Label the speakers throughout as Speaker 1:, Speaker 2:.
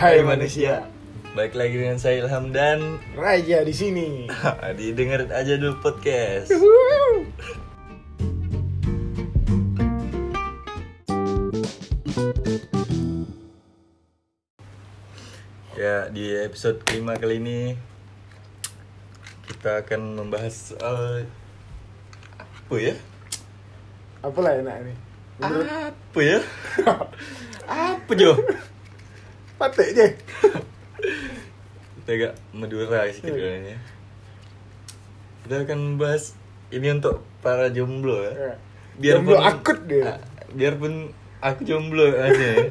Speaker 1: Hai manusia,
Speaker 2: Baik lagi dengan saya Ilham dan
Speaker 1: Raja di sini.
Speaker 2: didengerin aja dulu podcast. Ya, di episode kelima kali ini kita akan membahas soal apa ya?
Speaker 1: Apalah enak nih. Menurut
Speaker 2: Apa ya? apa Jo?
Speaker 1: patek je.
Speaker 2: Kita agak medura
Speaker 1: Iya.
Speaker 2: sedikit kali ini. Kita akan membahas ini untuk para jomblo ya.
Speaker 1: Iya. Jomblo akut dia.
Speaker 2: Ah, biarpun aku jomblo aja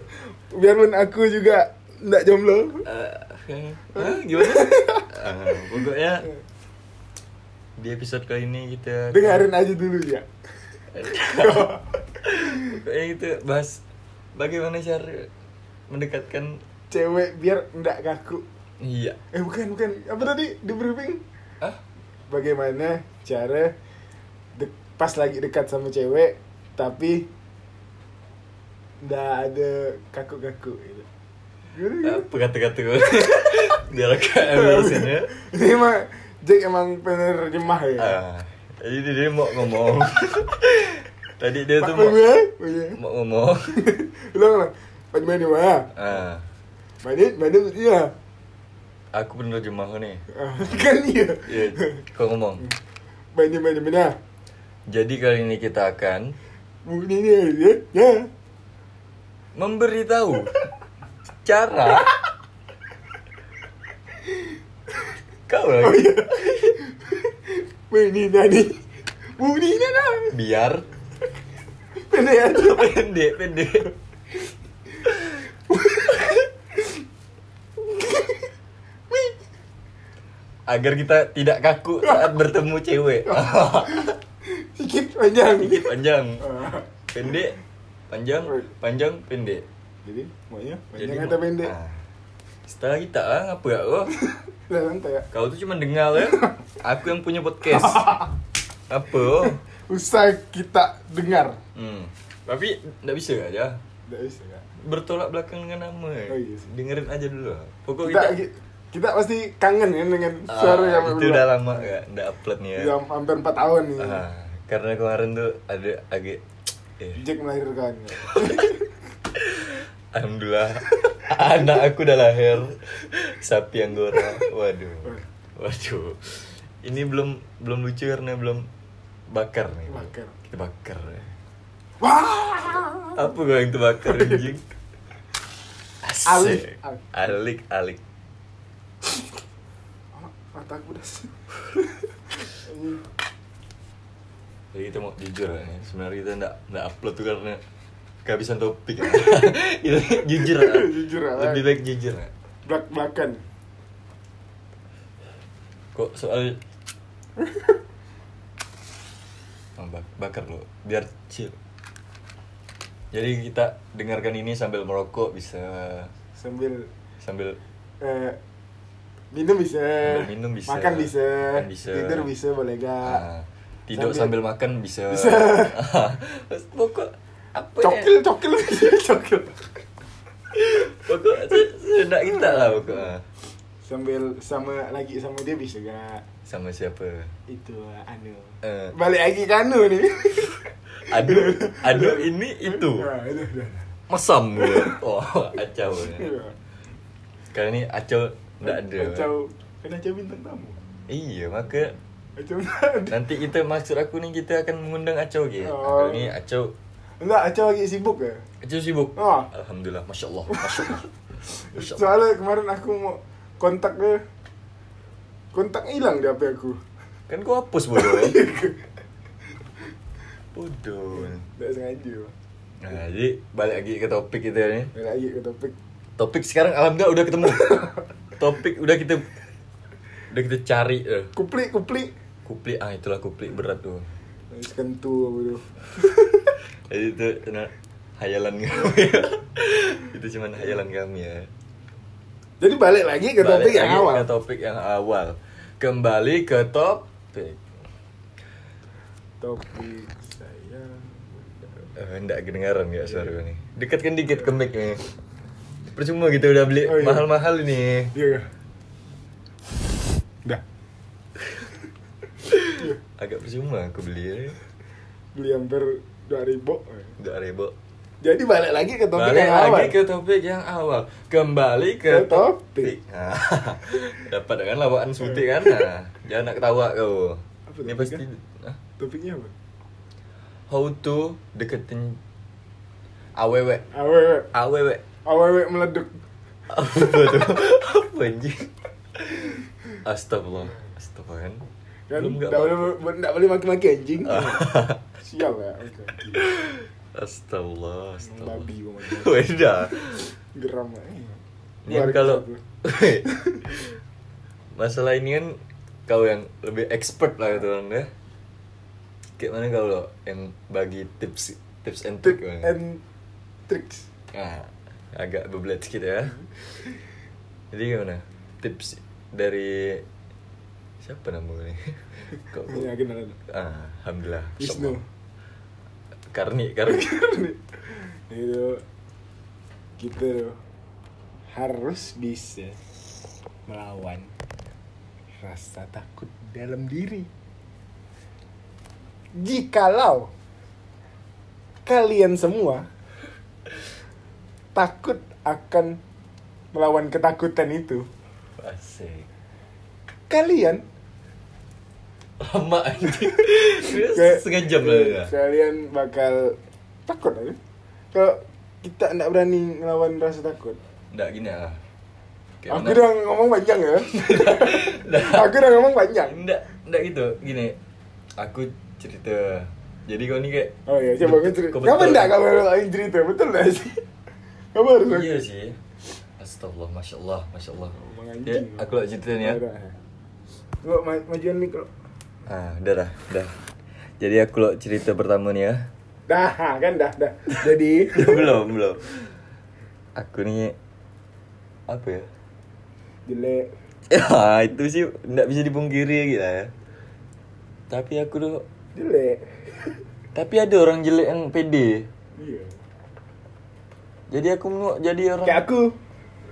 Speaker 1: Biarpun aku juga ndak jomblo.
Speaker 2: Eh, hah, gimana Ah, pokoknya di episode kali ini kita
Speaker 1: Dengarin aja dulu ya.
Speaker 2: pokoknya kita bahas bagaimana cara mendekatkan
Speaker 1: Cewek biar ndak kaku.
Speaker 2: iya
Speaker 1: Eh bukan bukan. Apa tadi di briefing?
Speaker 2: ah
Speaker 1: Bagaimana cara de- pas lagi dekat sama cewek tapi ndak ada kaku-kaku gitu. Gimana, gimana?
Speaker 2: apa kata-kata gue biar
Speaker 1: Iya.
Speaker 2: agak embarrassing ya
Speaker 1: Ini mah Jack emang penerjemah ya.
Speaker 2: Ah, jadi dia, dia mau ngomong tadi dia tuh
Speaker 1: Pak
Speaker 2: mau,
Speaker 1: Pembe, punya.
Speaker 2: mau ngomong
Speaker 1: Ulang ulang. Pak Pembe di mana?
Speaker 2: ah
Speaker 1: Bandit, bandit iya.
Speaker 2: aku penerjemah nih
Speaker 1: Ah, Kan iya.
Speaker 2: ya, kau ngomong
Speaker 1: Bandit, bandit mana?
Speaker 2: jadi kali ini kita akan
Speaker 1: Mungkin ini ya. Ya.
Speaker 2: memberitahu cara kau lah
Speaker 1: Oh
Speaker 2: lagi
Speaker 1: iya. Mungkin tadi. Mungkin ini dah.
Speaker 2: biar
Speaker 1: Pendek ah. aja.
Speaker 2: pendek pendek agar kita tidak kaku saat bertemu cewek
Speaker 1: Sikit panjang.
Speaker 2: Sedikit panjang
Speaker 1: Ah,
Speaker 2: pendek panjang panjang pendek
Speaker 1: Jadi, maunya
Speaker 2: Jadi,
Speaker 1: panjang kata pendek.
Speaker 2: ah. setelah kita ah, apa ya oh
Speaker 1: Lah santai ya.
Speaker 2: kau tuh cuma dengar ya aku yang punya podcast apa oh?
Speaker 1: Usai kita dengar.
Speaker 2: Hmm. Tapi nggak bisa aja.
Speaker 1: Enggak bisa ya.
Speaker 2: Bertolak belakang dengan nama.
Speaker 1: Oh, iya sih.
Speaker 2: Dengerin aja dulu. lah. Pokok
Speaker 1: Kita
Speaker 2: kita,
Speaker 1: kita pasti kangen kan dengan
Speaker 2: Ah,
Speaker 1: suara yang
Speaker 2: itu udah lama nggak nggak upload nih ya.
Speaker 1: Udah hampir 4 tahun nih.
Speaker 2: Ah, karena kemarin tuh ada agak eh,
Speaker 1: Jack melahirkan.
Speaker 2: alhamdulillah anak aku udah lahir sapi anggora. Waduh. Waduh. Ini belum belum lucu karena belum bakar nih.
Speaker 1: Bakar.
Speaker 2: Kita bakar. ya.
Speaker 1: Wah.
Speaker 2: Apa gua yang terbakar anjing?
Speaker 1: Alik.
Speaker 2: Asik. Alik, alik.
Speaker 1: Mata aku udah sih.
Speaker 2: Jadi kita mau jujur ya. Sebenarnya kita nggak nggak upload tuh karena kehabisan topik. Ini jujur. ya.
Speaker 1: Jujur ya.
Speaker 2: Lebih baik jujur. ya.
Speaker 1: Belak belakan.
Speaker 2: Kok soal Oh, bak- bakar lo biar chill. Jadi kita dengarkan ini sambil merokok bisa
Speaker 1: Sambil
Speaker 2: sambil
Speaker 1: eh, minum bisa.
Speaker 2: Sambil minum bisa.
Speaker 1: Makan bisa.
Speaker 2: Makan bisa.
Speaker 1: Tidur bisa boleh gak?
Speaker 2: ah, tidur
Speaker 1: sambil-
Speaker 2: sambil, makan bisa.
Speaker 1: Bisa.
Speaker 2: Pokok apa ya?
Speaker 1: Cokil cokil bisa cokil.
Speaker 2: Pokok se- senak kita lah pokok. Ah,
Speaker 1: Sambil sama lagi sama dia bisa gak?
Speaker 2: Sama siapa?
Speaker 1: Itu ah, anu.
Speaker 2: Eh.
Speaker 1: Balik lagi ke anu nih.
Speaker 2: Aduh, aduh ini itu.
Speaker 1: Ah, itu, itu, itu.
Speaker 2: Mesam gue. Oh, acau. ya.
Speaker 1: Iya.
Speaker 2: Kali ini acau enggak ada.
Speaker 1: Kacau. Kan acau bintang tamu.
Speaker 2: Iya, maka
Speaker 1: Acau nggak ada.
Speaker 2: nanti kita maksud aku nih kita akan mengundang acau gitu.
Speaker 1: Oh.
Speaker 2: Kali ini acau
Speaker 1: Enggak, acau lagi sibuk ya?
Speaker 2: acau sibuk.
Speaker 1: Oh.
Speaker 2: Alhamdulillah, masyaallah, masyaallah. Masyaallah.
Speaker 1: Soalnya kemarin aku mau kontak dia Kontak hilang di HP aku
Speaker 2: Kan kau hapus bodoh. ya? bodoh.
Speaker 1: Gak sengaja
Speaker 2: Nah, jadi balik lagi ke topik kita nih.
Speaker 1: Balik lagi ke topik
Speaker 2: Topik sekarang alhamdulillah udah ketemu. topik udah kita udah kita cari eh.
Speaker 1: Kuplik, kuplik
Speaker 2: Kuplik ah itulah kuplik berat tuh.
Speaker 1: Habis kentu apa tu
Speaker 2: Jadi itu kena hayalan kami. itu cuman hayalan kami ya.
Speaker 1: Jadi balik lagi ke topik
Speaker 2: Balik
Speaker 1: yang
Speaker 2: lagi
Speaker 1: awal
Speaker 2: Ke topik yang awal. Kembali ke topik.
Speaker 1: Topik saya Iya.
Speaker 2: kan Eh, Nggak kedengaran ya suara gue nih. Dekatkan dikit ke mic nih. percuma gitu udah beli
Speaker 1: Oh, iya.
Speaker 2: mahal-mahal ini
Speaker 1: Iya. Dah.
Speaker 2: agak percuma aku beli
Speaker 1: Beli hampir 2000.
Speaker 2: nggak rebo
Speaker 1: Jadi balik lagi ke topik
Speaker 2: balik
Speaker 1: yang
Speaker 2: lagi
Speaker 1: awal.
Speaker 2: ke topik yang awal kembali ke,
Speaker 1: Ke topik.
Speaker 2: Nah, dapat dengan lawakan suti kan nah, jangan nak ketawa kau
Speaker 1: Apa kan?
Speaker 2: ini
Speaker 1: topiknya?
Speaker 2: Ya, pasti Hah?
Speaker 1: Topiknya apa?
Speaker 2: how to deketin awewe
Speaker 1: Awewe.
Speaker 2: awewe
Speaker 1: Awewe meleduk.
Speaker 2: apa tuh apa anjing astagfirullah astagfirullah kan
Speaker 1: Kan
Speaker 2: Belum nggak
Speaker 1: enggak boleh enggak boleh maki-maki anjing. Sial ya. Oke.
Speaker 2: astagfirullah
Speaker 1: Babi
Speaker 2: astagfirullah
Speaker 1: gua maki.
Speaker 2: beda
Speaker 1: Geram eh. aja.
Speaker 2: Ini kan
Speaker 1: Keluarin
Speaker 2: kalau
Speaker 1: gua.
Speaker 2: masalah ini kan kau yang lebih expert lah gitu kan ya. Kayak mana kau lo yang bagi tips tips and
Speaker 1: Tip
Speaker 2: trick kan?
Speaker 1: and tricks.
Speaker 2: Nah, Ah, agak bebelat sedikit ya. Jadi gimana? Tips dari siapa namanya? Kok, kok?
Speaker 1: Ini kenalan.
Speaker 2: Ah, alhamdulillah.
Speaker 1: Wisnu.
Speaker 2: Karni, Karni.
Speaker 1: Itu kita tuh harus bisa melawan rasa takut dalam diri. Jikalau kalian semua takut akan melawan ketakutan itu,
Speaker 2: Asik.
Speaker 1: kalian
Speaker 2: Lama anjing.
Speaker 1: Kayak-
Speaker 2: Setengah jam lah ya.
Speaker 1: Kalian bakal takut aja. Kalau kita nggak berani ngelawan rasa takut.
Speaker 2: Nggak gini lah.
Speaker 1: aku
Speaker 2: Kayak mana-
Speaker 1: udah ngomong panjang ya. aku udah ngomong panjang.
Speaker 2: Enggak, enggak gitu. Gini, aku cerita. Jadi kau ini kayak
Speaker 1: Oh iya, coba aku cerita. Kamu enggak kamu yang cerita, betul enggak sih? Kamu harus
Speaker 2: Iya sih. Astagfirullah, masya Allah, masya Allah.
Speaker 1: Ngomong
Speaker 2: Ya,
Speaker 1: anjing.
Speaker 2: aku lah ceritain ya.
Speaker 1: Gua ma- majuan mikro.
Speaker 2: Ah, udah dah, udah. Jadi aku lo cerita pertama nih ya.
Speaker 1: Dah, ha, kan dah, dah. Jadi,
Speaker 2: belum, belum. Aku nih apa ya?
Speaker 1: jelek.
Speaker 2: Ya, itu sih enggak bisa dipungkiri gitu ya. Tapi aku tuh
Speaker 1: Jelek.
Speaker 2: tapi ada orang jelek yang pede.
Speaker 1: Iya.
Speaker 2: Jadi aku menengok jadi orang
Speaker 1: Kayak aku,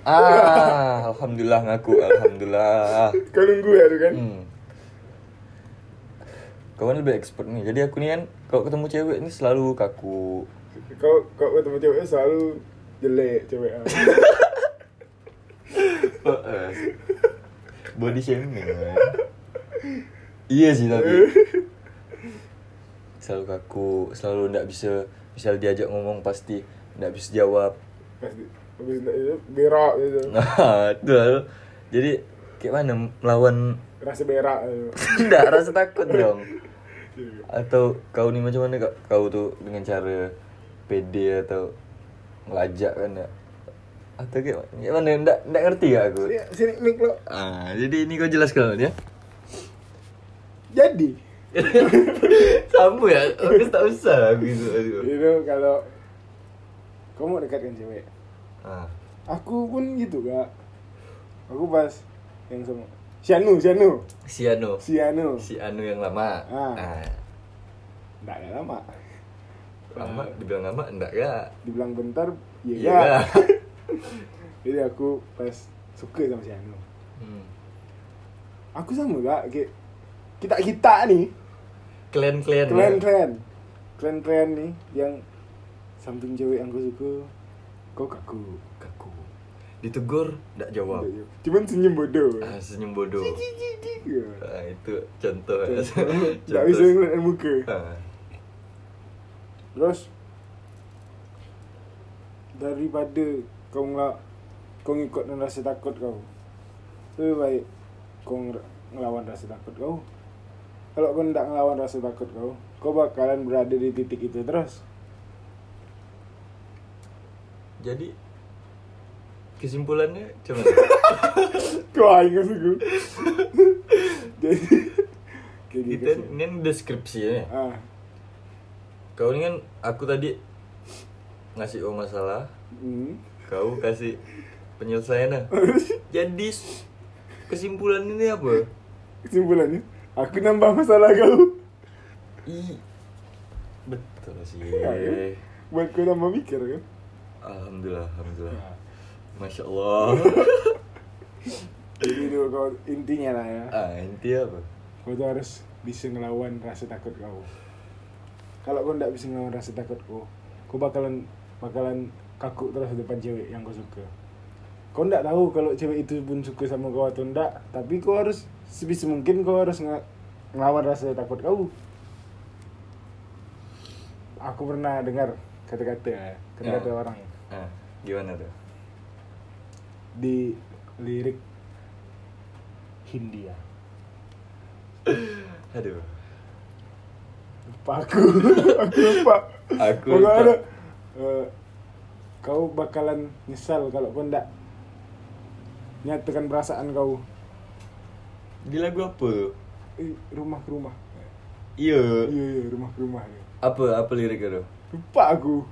Speaker 2: Ah, alhamdulillah ngaku, alhamdulillah.
Speaker 1: kau nunggu ya tuh kan.
Speaker 2: Hmm. Kau kan lebih expert nih. Jadi aku nih kan kalau ketemu cewek ini selalu kaku.
Speaker 1: Kau kau ketemu cewek selalu jelek cewek. ah.
Speaker 2: Body shaming. man. iya sih tapi selalu kaku, selalu ndak bisa misal diajak ngomong pasti ndak bisa jawab.
Speaker 1: Pasti habis itu berak gitu.
Speaker 2: Nah, itu lah. Jadi kayak mana melawan
Speaker 1: Rasa berak gitu.
Speaker 2: ndak rasa takut dong.
Speaker 1: Iya.
Speaker 2: Atau kau nih macam mana kak? Kau tuh dengan cara PD atau ngelajak kan ya? Atau kayak kayak mana? Nggak, nggak ngerti ya aku?
Speaker 1: Sini, sini mik lo.
Speaker 2: Ah, jadi ini kau jelaskan ya?
Speaker 1: Jadi,
Speaker 2: Kamu ya? Aku tak usah aku gitu. aduh.
Speaker 1: itu kalau kamu mau dekatkan cewek,
Speaker 2: Ah,
Speaker 1: aku pun gitu kak. Aku pas yang sama Sianu, Sianu,
Speaker 2: si Anu.
Speaker 1: Sianu.
Speaker 2: Si Anu yang lama.
Speaker 1: Ah.
Speaker 2: Ah.
Speaker 1: Nggak ada lah, lama.
Speaker 2: Lama, dibilang lama enggak ya?
Speaker 1: Dibilang bentar, iya.
Speaker 2: Iya.
Speaker 1: kak. Jadi aku pas suka sama Sianu.
Speaker 2: Hmm.
Speaker 1: Aku sama kak, kayak kita kita nih,
Speaker 2: Klan-klan.
Speaker 1: klan
Speaker 2: ya?
Speaker 1: klan, klan klan nih yang samping cewek yang aku suka, kau kaku.
Speaker 2: Kaku. Ditegur, enggak jawab.
Speaker 1: Cuman senyum bodoh.
Speaker 2: Ah, senyum bodoh.
Speaker 1: Ya.
Speaker 2: Ah, itu contoh.
Speaker 1: Tak bisa ngeliat muka
Speaker 2: Ah.
Speaker 1: Terus Daripada kau ngelak Kau ngikut dengan rasa takut kau Lebih baik Kau nger- ngelawan rasa takut kau Kalau kau tidak ngelawan rasa takut kau Kau bakalan berada di titik itu terus
Speaker 2: Jadi kesimpulannya cuma
Speaker 1: Kau aing aku Jadi kayak gitu
Speaker 2: kita
Speaker 1: sih.
Speaker 2: ini kan deskripsinya.
Speaker 1: ah,
Speaker 2: Kau ini kan aku tadi ngasih kau masalah,
Speaker 1: hmm.
Speaker 2: kau kasih penyelesaian. Nah. Jadi s- kesimpulan ini apa?
Speaker 1: Kesimpulannya Aku nambah masalah kau
Speaker 2: I betul sih.
Speaker 1: Iya, ya. Buat kau tambah mikir kan
Speaker 2: Iya. Alhamdulillah, alhamdulillah. Masya Allah.
Speaker 1: jadi itu kau intinya lah ya
Speaker 2: ah, intinya apa?
Speaker 1: kau tuh harus bisa ngelawan rasa takut kau kalau kau nggak bisa ngelawan rasa takut kau kau bakalan bakalan kaku terus depan cewek yang kau suka kau nggak tahu kalau cewek itu pun suka sama kau atau enggak tapi kau harus sebisa mungkin kau harus nge- ngelawan rasa takut kau aku pernah dengar kata-kata ya, kata-kata
Speaker 2: Ya.
Speaker 1: orang ya
Speaker 2: Ah, gimana tuh?
Speaker 1: di lirik Hindia
Speaker 2: Aduh.
Speaker 1: lupa aku aku lupa
Speaker 2: Aku
Speaker 1: Pokoknya
Speaker 2: lupa.
Speaker 1: ada, eh, kau bakalan nyesal kalau kau ndak nyatakan perasaan kau
Speaker 2: Di lagu apa tuh?
Speaker 1: eh, rumah ke rumah
Speaker 2: Iya.
Speaker 1: iya iya rumah ke rumah iya.
Speaker 2: Apa apa liriknya tuh?
Speaker 1: lupa aku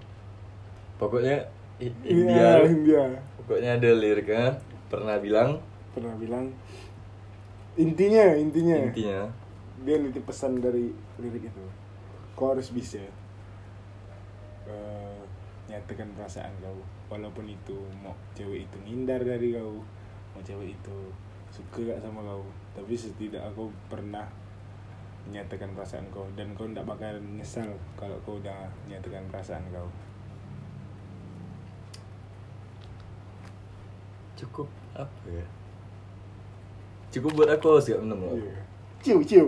Speaker 2: Pokoknya
Speaker 1: Iya,
Speaker 2: I- India.
Speaker 1: Hindia
Speaker 2: Pokoknya ada liriknya pernah bilang
Speaker 1: pernah bilang intinya intinya
Speaker 2: intinya
Speaker 1: dia nitip pesan dari lirik itu kau harus bisa eh, nyatakan perasaan kau walaupun itu mau cewek itu ngindar dari kau mau cewek itu suka gak sama kau tapi setidak aku pernah menyatakan perasaan kau dan kau tidak bakal nyesal kalau kau udah menyatakan perasaan kau
Speaker 2: cukup apa ya? Cukup buat aku harus gak minum loh.
Speaker 1: Iya. ciu ciu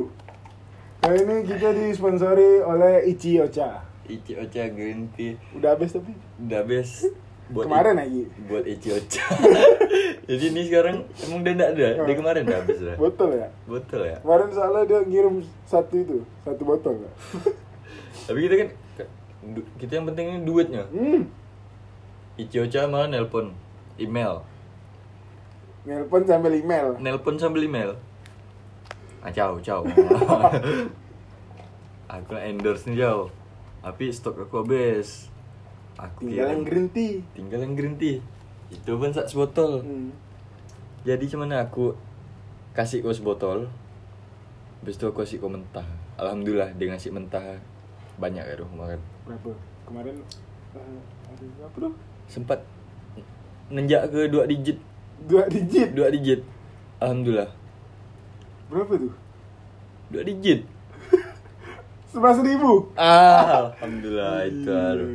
Speaker 1: kali ini kita disponsori oleh Ichi Ocha
Speaker 2: Ichi Ocha Green Tea
Speaker 1: udah habis tapi
Speaker 2: udah best buat
Speaker 1: kemarin
Speaker 2: i-
Speaker 1: lagi
Speaker 2: buat Ichi Ocha jadi ini sekarang emang dia enggak ada
Speaker 1: Iya.
Speaker 2: dia kemarin udah habis dah
Speaker 1: botol ya
Speaker 2: betul ya
Speaker 1: Kemarin soalnya dia ngirim satu itu, satu botol. Kak.
Speaker 2: tapi kita kan du- kita yang penting ini duitnya
Speaker 1: Hmm.
Speaker 2: Ichi Ocha malah nelpon email
Speaker 1: Nelpon sambil email.
Speaker 2: nelpon sambil email ah jauh jauh aku nak endorse nih jauh tapi stok aku habis aku
Speaker 1: Tinggal yang
Speaker 2: kirim-
Speaker 1: green tea.
Speaker 2: tinggal yang green tea itu pun sak sebotol
Speaker 1: Hmm.
Speaker 2: Jadi cuman aku kasih kau sebotol. Habis itu aku kasih kau mentah. Alhamdulillah dia ngasih mentah banyak ya rumah makan.
Speaker 1: Berapa? Kemarin eh, hari berapa tuh?
Speaker 2: Sempat nenjak ke dua digit,
Speaker 1: Dua digit.
Speaker 2: dua digit. Alhamdulillah.
Speaker 1: Berapa tuh?
Speaker 2: Dua digit.
Speaker 1: Sebelas ribu.
Speaker 2: Ah, alhamdulillah itu
Speaker 1: Iya.
Speaker 2: haru.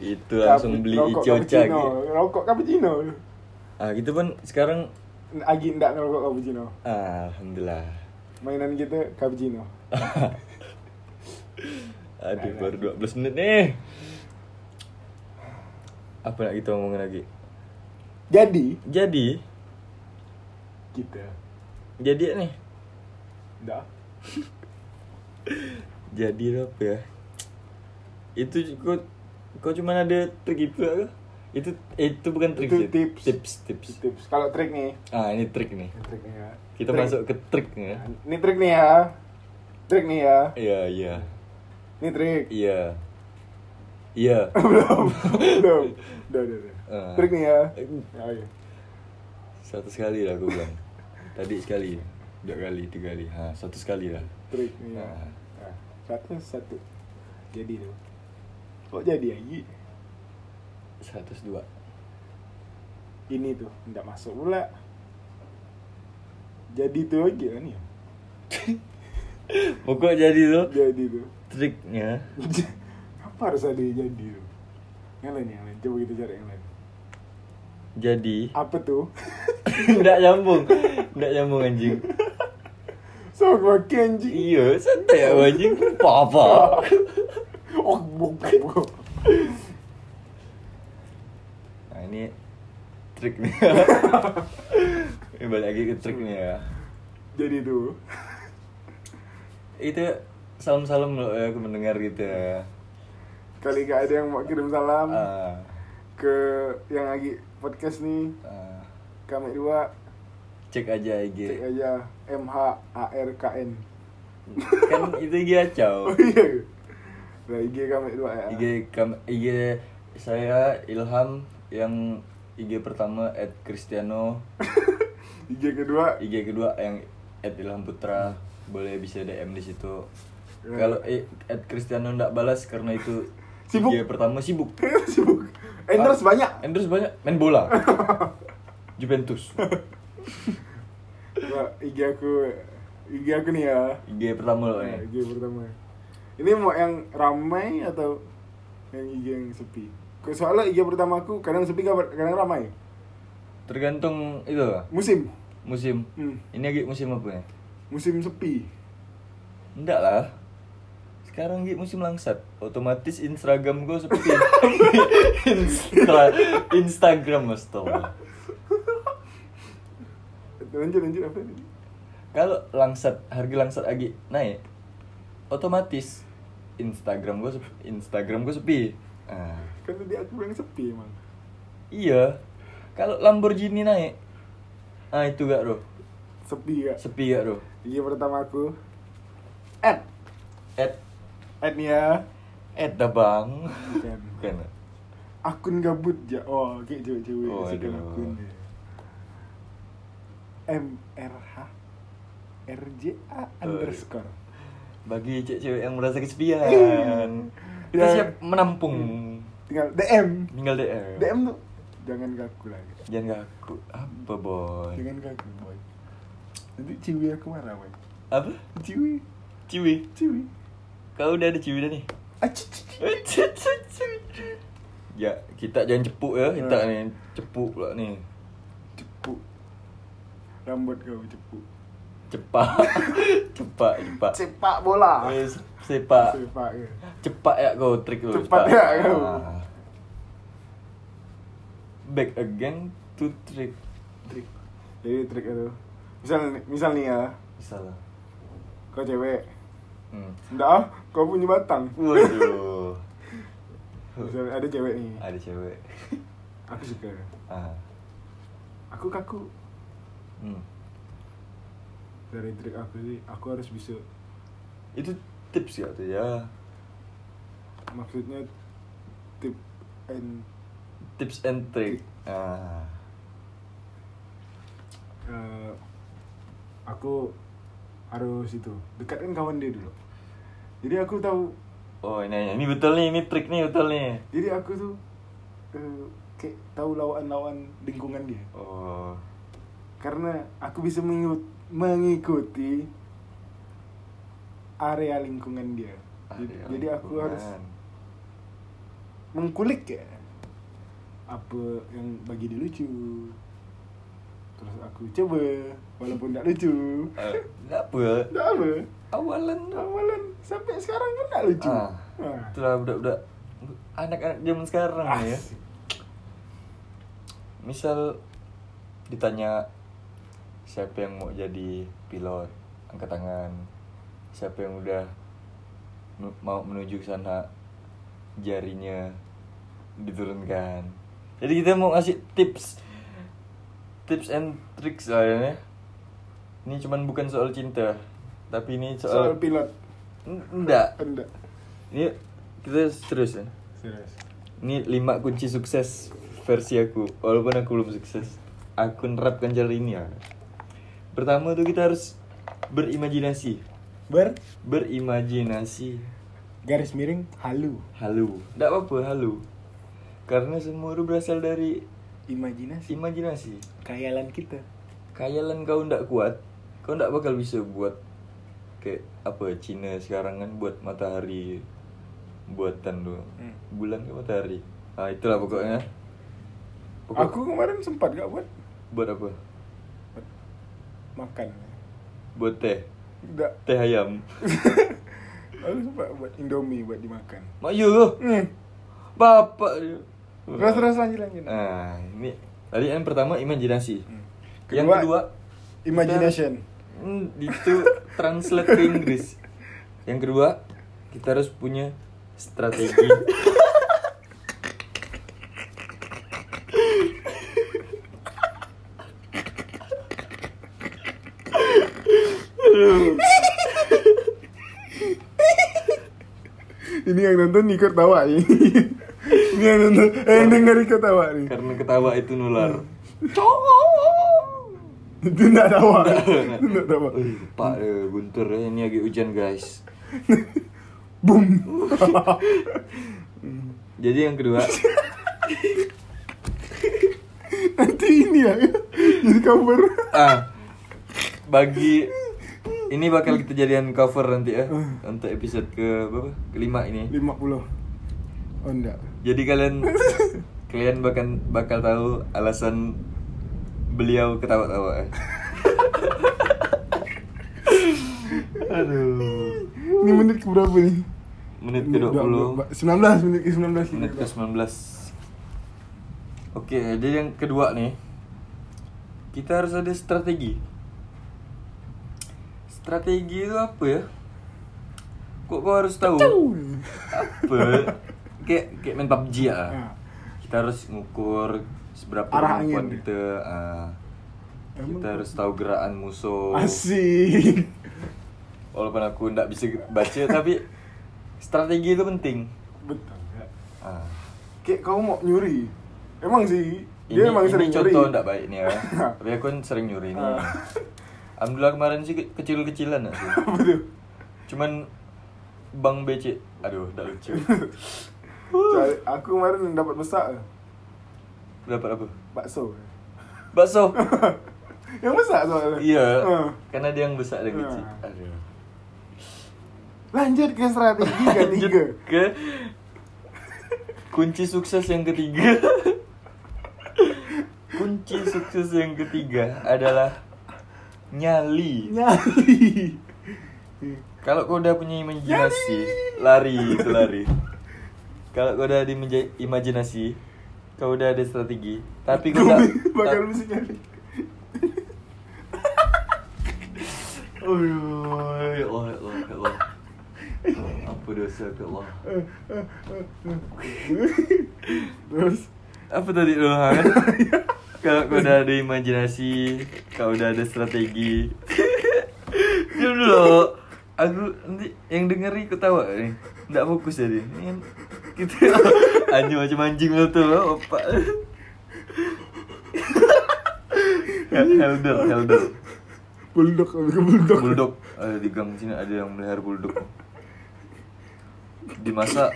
Speaker 2: Itu langsung beli icoca gitu.
Speaker 1: Rokok cappuccino.
Speaker 2: Ah, gitu pun sekarang
Speaker 1: Agi ndak ngerokok cappuccino.
Speaker 2: ah, alhamdulillah.
Speaker 1: Mainan kita cappuccino.
Speaker 2: Aduh, baru 12 menit nih. Apa nak kita ngomongin lagi?
Speaker 1: Jadi
Speaker 2: Jadi,
Speaker 1: kita
Speaker 2: jadi nih
Speaker 1: ndak
Speaker 2: jadi apa ya itu kok kok cuma ada trik itu lah kah? itu itu bukan trik
Speaker 1: Itu
Speaker 2: sih
Speaker 1: tips.
Speaker 2: tips tips
Speaker 1: tips. Kalau trik nih,
Speaker 2: ah ini trik nih ya.
Speaker 1: triknya.
Speaker 2: kita
Speaker 1: Trik.
Speaker 2: masuk ke trik nih ya
Speaker 1: Nah, Ini trik nih ya. Trik nih ya.
Speaker 2: iya iya
Speaker 1: Ini trik.
Speaker 2: iya iya
Speaker 1: belum belum udah udah, udah.
Speaker 2: Eh.
Speaker 1: trik nih ya
Speaker 2: Eh,
Speaker 1: oh, iya.
Speaker 2: satu sekali lah aku bilang tadi sekali dua kali tiga kali ha satu sekali lah
Speaker 1: trik nih ya
Speaker 2: Ah.
Speaker 1: Nah, satu satu jadi tuh kok jadi lagi
Speaker 2: seratus dua
Speaker 1: ini tuh nggak masuk pula jadi tuh aja kan ya
Speaker 2: pokok jadi tuh
Speaker 1: jadi tuh
Speaker 2: triknya
Speaker 1: apa harus ada yang jadi tuh yang lain yang lain coba kita cari yang lain
Speaker 2: jadi
Speaker 1: apa tuh
Speaker 2: nggak nyambung nggak nyambung anjing
Speaker 1: sama pakai anjing
Speaker 2: Iya, santai ya anjing. Papa.
Speaker 1: oh bukan
Speaker 2: Nah, ini trik nih. ini balik lagi ke trik nih ya.
Speaker 1: jadi tuh
Speaker 2: Itu salam-salam loh ya, aku mendengar gitu ya.
Speaker 1: kali gak ada yang mau kirim salam
Speaker 2: Ah,
Speaker 1: ke yang lagi podcast nih
Speaker 2: ah,
Speaker 1: kami dua
Speaker 2: cek aja
Speaker 1: cek
Speaker 2: IG.
Speaker 1: aja M H A R K N
Speaker 2: Kan itu IG acau.
Speaker 1: oh iya nah IG kami dua ya
Speaker 2: IG kam- IG saya Ilham yang IG pertama at Cristiano,
Speaker 1: IG kedua
Speaker 2: IG kedua yang at Ilham Putra. Boleh bisa DM di situ.
Speaker 1: Iya. Nah.
Speaker 2: Kalau eh, at Cristiano ndak balas karena itu
Speaker 1: Sibuk.
Speaker 2: IG pertama sibuk.
Speaker 1: sibuk Eh, Enders banyak.
Speaker 2: Enders banyak main bola. Juventus.
Speaker 1: Coba IG Nah, aku IG aku nih ya.
Speaker 2: IG pertama lo
Speaker 1: Nah,
Speaker 2: nih.
Speaker 1: IG pertama. Ini mau yang ramai atau yang IG yang sepi? Ke- Soalnya IG pertama aku kadang sepi kadang kadang ramai.
Speaker 2: Tergantung itu lah,
Speaker 1: Musim.
Speaker 2: musim.
Speaker 1: Hmm.
Speaker 2: Ini lagi musim apa ya?
Speaker 1: Musim sepi.
Speaker 2: Enggak lah. Sekarang gitu musim langsat, otomatis Instagram gue seperti Insta Instagram astaga.
Speaker 1: Lanjut lanjut apa tadi?
Speaker 2: Kalau langsat, harga langsat lagi naik, otomatis Instagram gue Instagram gue sepi. Ah.
Speaker 1: Kan tadi aku bilang sepi emang.
Speaker 2: Iya. Kalau Lamborghini naik, ah itu gak bro,
Speaker 1: Sepi ya.
Speaker 2: sepi gak bro.
Speaker 1: IG pertama aku. Ad.
Speaker 2: Ed,
Speaker 1: Ad nih ya.
Speaker 2: Ed dah bang.
Speaker 1: Bukan.
Speaker 2: Bukan.
Speaker 1: Akun gabut ja. Oh, kayak cewek-cewek
Speaker 2: Oh,
Speaker 1: kasihkan
Speaker 2: aduh.
Speaker 1: akun ya. dia. MRH RJA underscore.
Speaker 2: Bagi cewek-cewek yang merasa kesepian, kita
Speaker 1: Ya. Hmm.
Speaker 2: siap menampung.
Speaker 1: Tinggal DM.
Speaker 2: Tinggal DM.
Speaker 1: DM tuh jangan kaku lagi.
Speaker 2: Jangan ngaku apa boy?
Speaker 1: Jangan kaku, boy. Nanti ciwi aku marah, boy.
Speaker 2: Apa?
Speaker 1: Ciwi,
Speaker 2: Ciwi.
Speaker 1: ciwi. Ah,
Speaker 2: Kau udah ada ciwi dah nih.
Speaker 1: Aci, cici.
Speaker 2: ya, kita jangan cepuk ya. Kita
Speaker 1: Hmm.
Speaker 2: ni cepuk pula ni.
Speaker 1: Cepu. Rambut kau cepu.
Speaker 2: Cepat. cepat, cepat.
Speaker 1: Sepak bola.
Speaker 2: Eh, Sepak.
Speaker 1: Sepak. ya.
Speaker 2: Cepat ya kau trik lu.
Speaker 1: Cepat ya kau.
Speaker 2: Ah. Back again to trick.
Speaker 1: Trik. Jadi trik itu. Misal misal nih ya,
Speaker 2: Salah.
Speaker 1: kau cewek.
Speaker 2: Hmm.
Speaker 1: Enggak ah, kau punya batang.
Speaker 2: Waduh.
Speaker 1: Misal ada cewek nih.
Speaker 2: Ada cewek.
Speaker 1: Aku suka.
Speaker 2: Ah.
Speaker 1: Aku kaku.
Speaker 2: Hmm.
Speaker 1: Dari trik aku sih, aku harus bisa.
Speaker 2: Itu tips ya tuh ya.
Speaker 1: Maksudnya tip and
Speaker 2: Tips and trick. Ah.
Speaker 1: eh, aku harus itu dekatkan kawan dia dulu. Jadi aku tahu.
Speaker 2: Oh ini ini betul nih, ini trik nih betul nih.
Speaker 1: Jadi aku tuh eh, kayak tahu lawan-lawan lingkungan dia.
Speaker 2: Oh.
Speaker 1: Karena aku bisa mengu- mengikuti area lingkungan dia. Jadi,
Speaker 2: ada
Speaker 1: jadi aku
Speaker 2: lingkungan.
Speaker 1: harus mengkulik ya apa yang bagi dia lucu terus aku coba walaupun tak lucu
Speaker 2: Eh, Enggak apa.
Speaker 1: tak apa
Speaker 2: Awalan tu.
Speaker 1: awalan sampai sekarang pun tak lucu
Speaker 2: Ah.
Speaker 1: Ah.
Speaker 2: Itulah budak-budak anak-anak zaman sekarang ni ya.
Speaker 1: Asik.
Speaker 2: Misal ditanya siapa yang mau jadi pilot, angkat tangan. Siapa yang udah nu- mau menuju ke sana jarinya diturunkan. Jadi kita mau ngasih tips tips and tricks lah ya. Nek. Ini cuman bukan soal cinta, tapi ini
Speaker 1: soal
Speaker 2: soal,
Speaker 1: pilot
Speaker 2: N- enggak.
Speaker 1: enggak
Speaker 2: Ini kita serius ya.
Speaker 1: serius
Speaker 2: Ini lima kunci sukses versi aku Walaupun aku belum sukses Aku nerapkan cara ini ya Pertama tuh kita harus berimajinasi
Speaker 1: ber
Speaker 2: Berimajinasi
Speaker 1: garis miring halu
Speaker 2: Halu Gak apa-apa halu Karena semua itu berasal dari
Speaker 1: imajinasi
Speaker 2: imajinasi
Speaker 1: khayalan kita
Speaker 2: Kayalan kau ndak kuat Kau ndak bakal bisa buat Kayak apa Cina sekarang kan buat matahari Buatan tuh
Speaker 1: Hmm.
Speaker 2: Bulan ke matahari Ah itulah pokoknya Pokok-
Speaker 1: aku kemarin sempat gak buat
Speaker 2: Buat apa?
Speaker 1: makan
Speaker 2: Buat teh
Speaker 1: enggak
Speaker 2: Teh ayam
Speaker 1: aku sempat buat indomie buat dimakan
Speaker 2: Mak you tu
Speaker 1: hmm.
Speaker 2: Bapak dia
Speaker 1: terus terus lanjut lanjut
Speaker 2: Nah ini Tadi yang pertama imajinasi
Speaker 1: Hmm.
Speaker 2: Yang
Speaker 1: Kedua,
Speaker 2: kedua
Speaker 1: imagination
Speaker 2: kita- hmm, Itu translate ke Inggris Yang kedua Kita harus punya strategi
Speaker 1: Ini yang nonton Niko tawa ini. ini yang nonton, eh, yang denger Niko tawa nih.
Speaker 2: Karena ketawa itu nular
Speaker 1: Itu enggak tawa. Itu enggak tawa.
Speaker 2: Eh, Pak dia guntur dia. Ini lagi hujan guys
Speaker 1: Boom.
Speaker 2: Jadi yang kedua
Speaker 1: Nanti ini ya. Jadi cover.
Speaker 2: ah bagi ini bakal kita jadikan cover nanti ya
Speaker 1: Hmm.
Speaker 2: untuk episode ke berapa kelima ini
Speaker 1: 50. Oh enggak.
Speaker 2: jadi kalian kalian bakal bakal tahu alasan beliau ketawa-tawa ya. aduh
Speaker 1: Ini menit ke berapa nih?
Speaker 2: menit ke 20
Speaker 1: 19 menit ke 19
Speaker 2: menit ke 19 oke jadi yang kedua nih kita harus ada strategi strategi itu apa ya kok kau harus tahu apa kayak kayak main PUBG ya
Speaker 1: Ya.
Speaker 2: kita harus ngukur seberapa
Speaker 1: Arah
Speaker 2: kemampuan
Speaker 1: angin.
Speaker 2: kita ah.
Speaker 1: Emang
Speaker 2: kita harus tahu gerakan musuh
Speaker 1: Asik.
Speaker 2: walaupun aku ndak bisa baca tapi strategi itu penting
Speaker 1: Betul. ya.
Speaker 2: Ah.
Speaker 1: Kayak kau mau nyuri. Emang sih.
Speaker 2: Ini,
Speaker 1: Dia emang
Speaker 2: ini
Speaker 1: sering nyuri.
Speaker 2: contoh ndak baik nih ya. Tapi aku kan sering nyuri nih.
Speaker 1: Ah.
Speaker 2: Alhamdulillah kemarin sih ke- kecil-kecilan nggak sih.
Speaker 1: Apa tuh?
Speaker 2: Cuman Bang BC, aduh ndak lucu.
Speaker 1: Cari- Aku kemarin dapat besar
Speaker 2: Dapat apa?
Speaker 1: bakso.
Speaker 2: Bakso.
Speaker 1: Yang besar soalnya.
Speaker 2: iya.
Speaker 1: Ah.
Speaker 2: Karena dia yang besar dan kecil.
Speaker 1: Ah.
Speaker 2: Aduh.
Speaker 1: Lanjut ke strategi ketiga.
Speaker 2: Lanjut ke kunci sukses yang ketiga. kunci sukses yang ketiga adalah nyali.
Speaker 1: Nyali.
Speaker 2: Kalau kau udah punya imajinasi, lari itu lari. Kalau kau udah di menja- imajinasi, kau udah ada strategi. Tapi kau
Speaker 1: Gua
Speaker 2: tak,
Speaker 1: bakal
Speaker 2: tak-
Speaker 1: mesti nyali.
Speaker 2: Aduh, ya Allah, ya Allah, ya Allah. Apa dosa ya Allah?
Speaker 1: Terus
Speaker 2: Apa tadi lu kan? Kalau kau udah ada imajinasi, kau udah ada strategi. Diam dulu. Aku nanti yang denger ikut tawa nih. Enggak fokus jadi. Ini kan kita anjing macam anjing lu tuh, opak. Helder, helder.
Speaker 1: bulldog lebih ke bulldog.
Speaker 2: Bulldog ada di gang sini ada yang melihara bulldog. Dimasak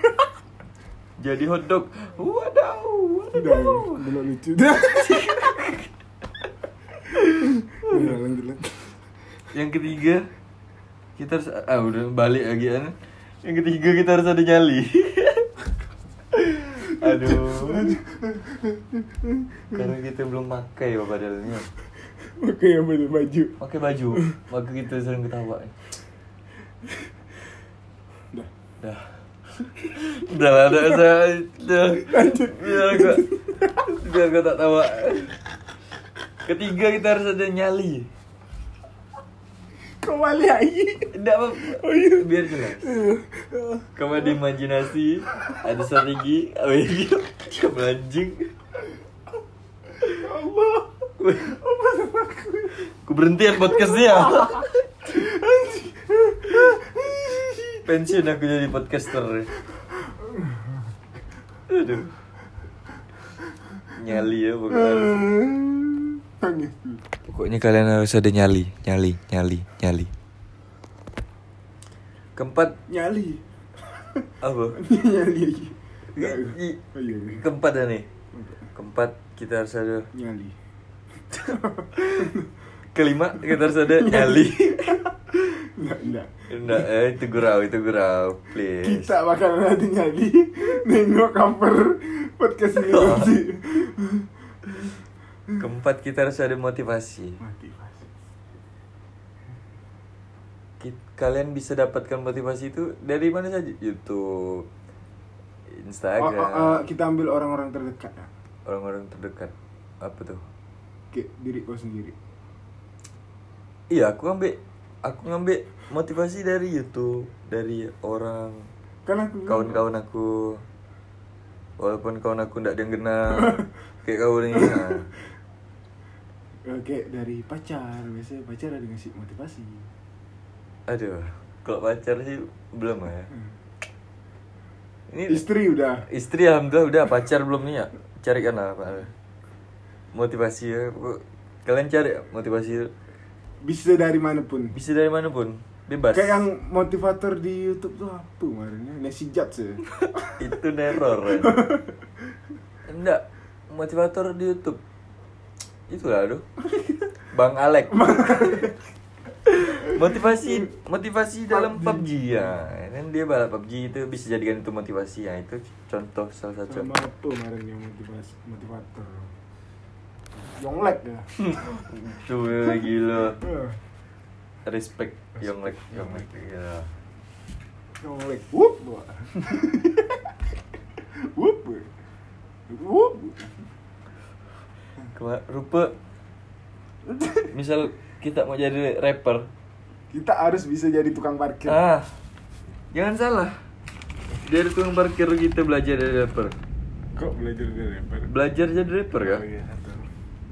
Speaker 2: jadi hotdog. Wadaw,
Speaker 1: Udah,
Speaker 2: wadaw.
Speaker 1: belum lucu. Udah, lanjut lanjut.
Speaker 2: Yang ketiga kita harus ah udah balik lagi kan. Yang ketiga kita harus ada nyali. Aduh. Karena kita belum pakai ya padahal.
Speaker 1: Oke, yang baju baju.
Speaker 2: Pakai baju, maka kita sering ketawa.
Speaker 1: Udah.
Speaker 2: Dah. Udah lah, udah saya udah. Biar gua biar gua tak tawa. Ketiga kita harus ada nyali.
Speaker 1: Kau balik lagi.
Speaker 2: Enggak apa
Speaker 1: Oh, iya.
Speaker 2: biar jelas. Kamu ada imajinasi, ada strategi, apa gitu. Cuma anjing.
Speaker 1: Allah. Apa sama aku?
Speaker 2: Ku berhenti ya podcastnya. Pensiun aku jadi podcaster. Aduh. Nyali ya pokoknya.
Speaker 1: Tangis dulu.
Speaker 2: Pokoknya kalian harus ada nyali, nyali, nyali, nyali. Keempat
Speaker 1: Nyali.
Speaker 2: apa?
Speaker 1: Nyali lagi. Nggak,
Speaker 2: I- i-
Speaker 1: oh, iya, iya.
Speaker 2: Keempat ya nih. Keempat kita harus ada
Speaker 1: Nyali.
Speaker 2: kelima kita harus ada nyali.
Speaker 1: Enggak, enggak.
Speaker 2: Enggak, eh, itu gurau, itu gurau, please.
Speaker 1: Kita bakal nanti nyali nengok cover podcast ini
Speaker 2: Oh.
Speaker 1: nanti.
Speaker 2: Keempat kita harus ada motivasi.
Speaker 1: Mati pasti.
Speaker 2: Ki- Kalian bisa dapatkan motivasi itu dari mana saja? YouTube,
Speaker 1: Oh, oh, oh,
Speaker 2: Instagram,
Speaker 1: kita ambil orang-orang terdekat ya.
Speaker 2: orang-orang terdekat. Apa tuh?
Speaker 1: Kayak diri kau sendiri.
Speaker 2: Iya, aku ngambil aku ngambil motivasi dari YouTube, dari orang
Speaker 1: Kan aku
Speaker 2: kawan-kawan aku. Walaupun kawan aku ndak ada yang kenal kayak kau nih. nah.
Speaker 1: Eh, kayak dari pacar, biasanya pacar ada ngasih motivasi.
Speaker 2: Aduh, kalau pacar sih belum ya.
Speaker 1: Hmm.
Speaker 2: Ini
Speaker 1: Istri udah.
Speaker 2: Istri alhamdulillah udah pacar belum nih ya? Cari kan lah Pak. Motivasi ya. Kalian cari motivasi
Speaker 1: Bisa dari manapun.
Speaker 2: bisa dari mana pun, bebas.
Speaker 1: Kayak yang motivator di ya? YouTube tuh apa kemarin ya? Nasi Jat sih.
Speaker 2: itu neror. kan. enggak motivator di YouTube itulah aduh Bang Alek motivasi motivasi dalam PUBG ya kan dia balap PUBG itu bisa jadikan itu motivasi ya itu contoh salah satu
Speaker 1: Sama apa kemarin yang motivasi motivator? Yonglek ya.
Speaker 2: Cuy, gila
Speaker 1: Eh,
Speaker 2: respect Yonglek Yonglek gila
Speaker 1: Yonglek. Wup. gua. Wup. gua. Wup.
Speaker 2: Kema- rupa misal kita mau jadi rapper
Speaker 1: Kita harus bisa jadi tukang parkir.
Speaker 2: ah jangan salah dari tukang parkir kita belajar dari rapper
Speaker 1: Kok belajar dari rapper?
Speaker 2: belajar jadi rapper ya
Speaker 1: Oh, iya, satu.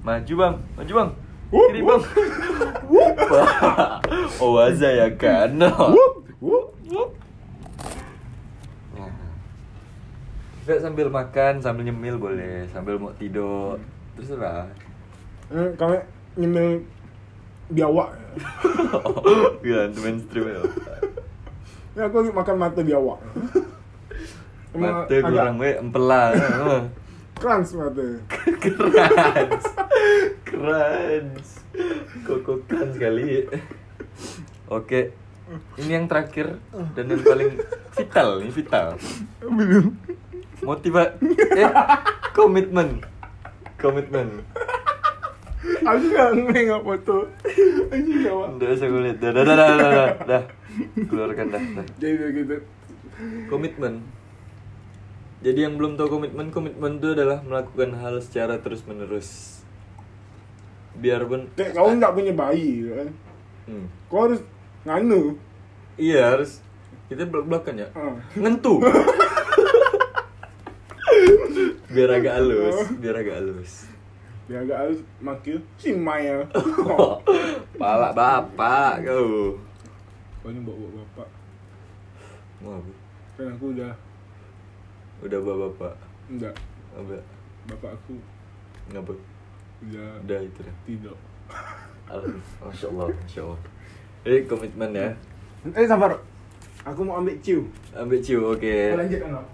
Speaker 2: maju bang maju bang
Speaker 1: Wup,
Speaker 2: kiri
Speaker 1: wup.
Speaker 2: bang oh waza ya kan
Speaker 1: Wup. Wup.
Speaker 2: Ya. Juga sambil makan sambil nyemil boleh sambil mau tidur terserah
Speaker 1: Eh, kami nyemil biawak.
Speaker 2: Gila, itu mainstream ya.
Speaker 1: Ya aku lagi makan mata biawak. Emang
Speaker 2: Mata
Speaker 1: agak
Speaker 2: kurang we empelan.
Speaker 1: Krans mata.
Speaker 2: Keren. Keren. Kokokan sekali. Oke. Ini yang terakhir dan yang paling vital, ini vital.
Speaker 1: Belum.
Speaker 2: Motiva eh komitmen. Komitmen.
Speaker 1: Aku gak nengok foto. Aku gak Wak.
Speaker 2: Udah usah gue liat. Dah, dah, dah, dah, dah, dah, dah. Keluarkan dah, dah.
Speaker 1: Jadi kayak gitu.
Speaker 2: komitmen jadi yang belum tahu komitmen komitmen itu adalah melakukan hal secara terus menerus biarpun
Speaker 1: Kayak kau nggak punya bayi, gitu kan?
Speaker 2: Hmm.
Speaker 1: Kau harus nganu.
Speaker 2: iya harus kita belak belakan ya
Speaker 1: Ah.
Speaker 2: ngentu biar agak halus biar agak halus
Speaker 1: Dia agak harus makil si Maya.
Speaker 2: pala bapak kau
Speaker 1: Kau ini bawa bapak.
Speaker 2: Wah,
Speaker 1: Kan aku udah
Speaker 2: udah bapak bapak
Speaker 1: enggak.
Speaker 2: apa
Speaker 1: Bapak aku
Speaker 2: ngapa
Speaker 1: udah
Speaker 2: udah itu dah
Speaker 1: tidak.
Speaker 2: Alhamdulillah. masya allah masya allah jadi komitmen ya
Speaker 1: Eh sabar. Aku mau ambil ciu.
Speaker 2: ambil ciu oke
Speaker 1: Kau lanjut kan? Wak?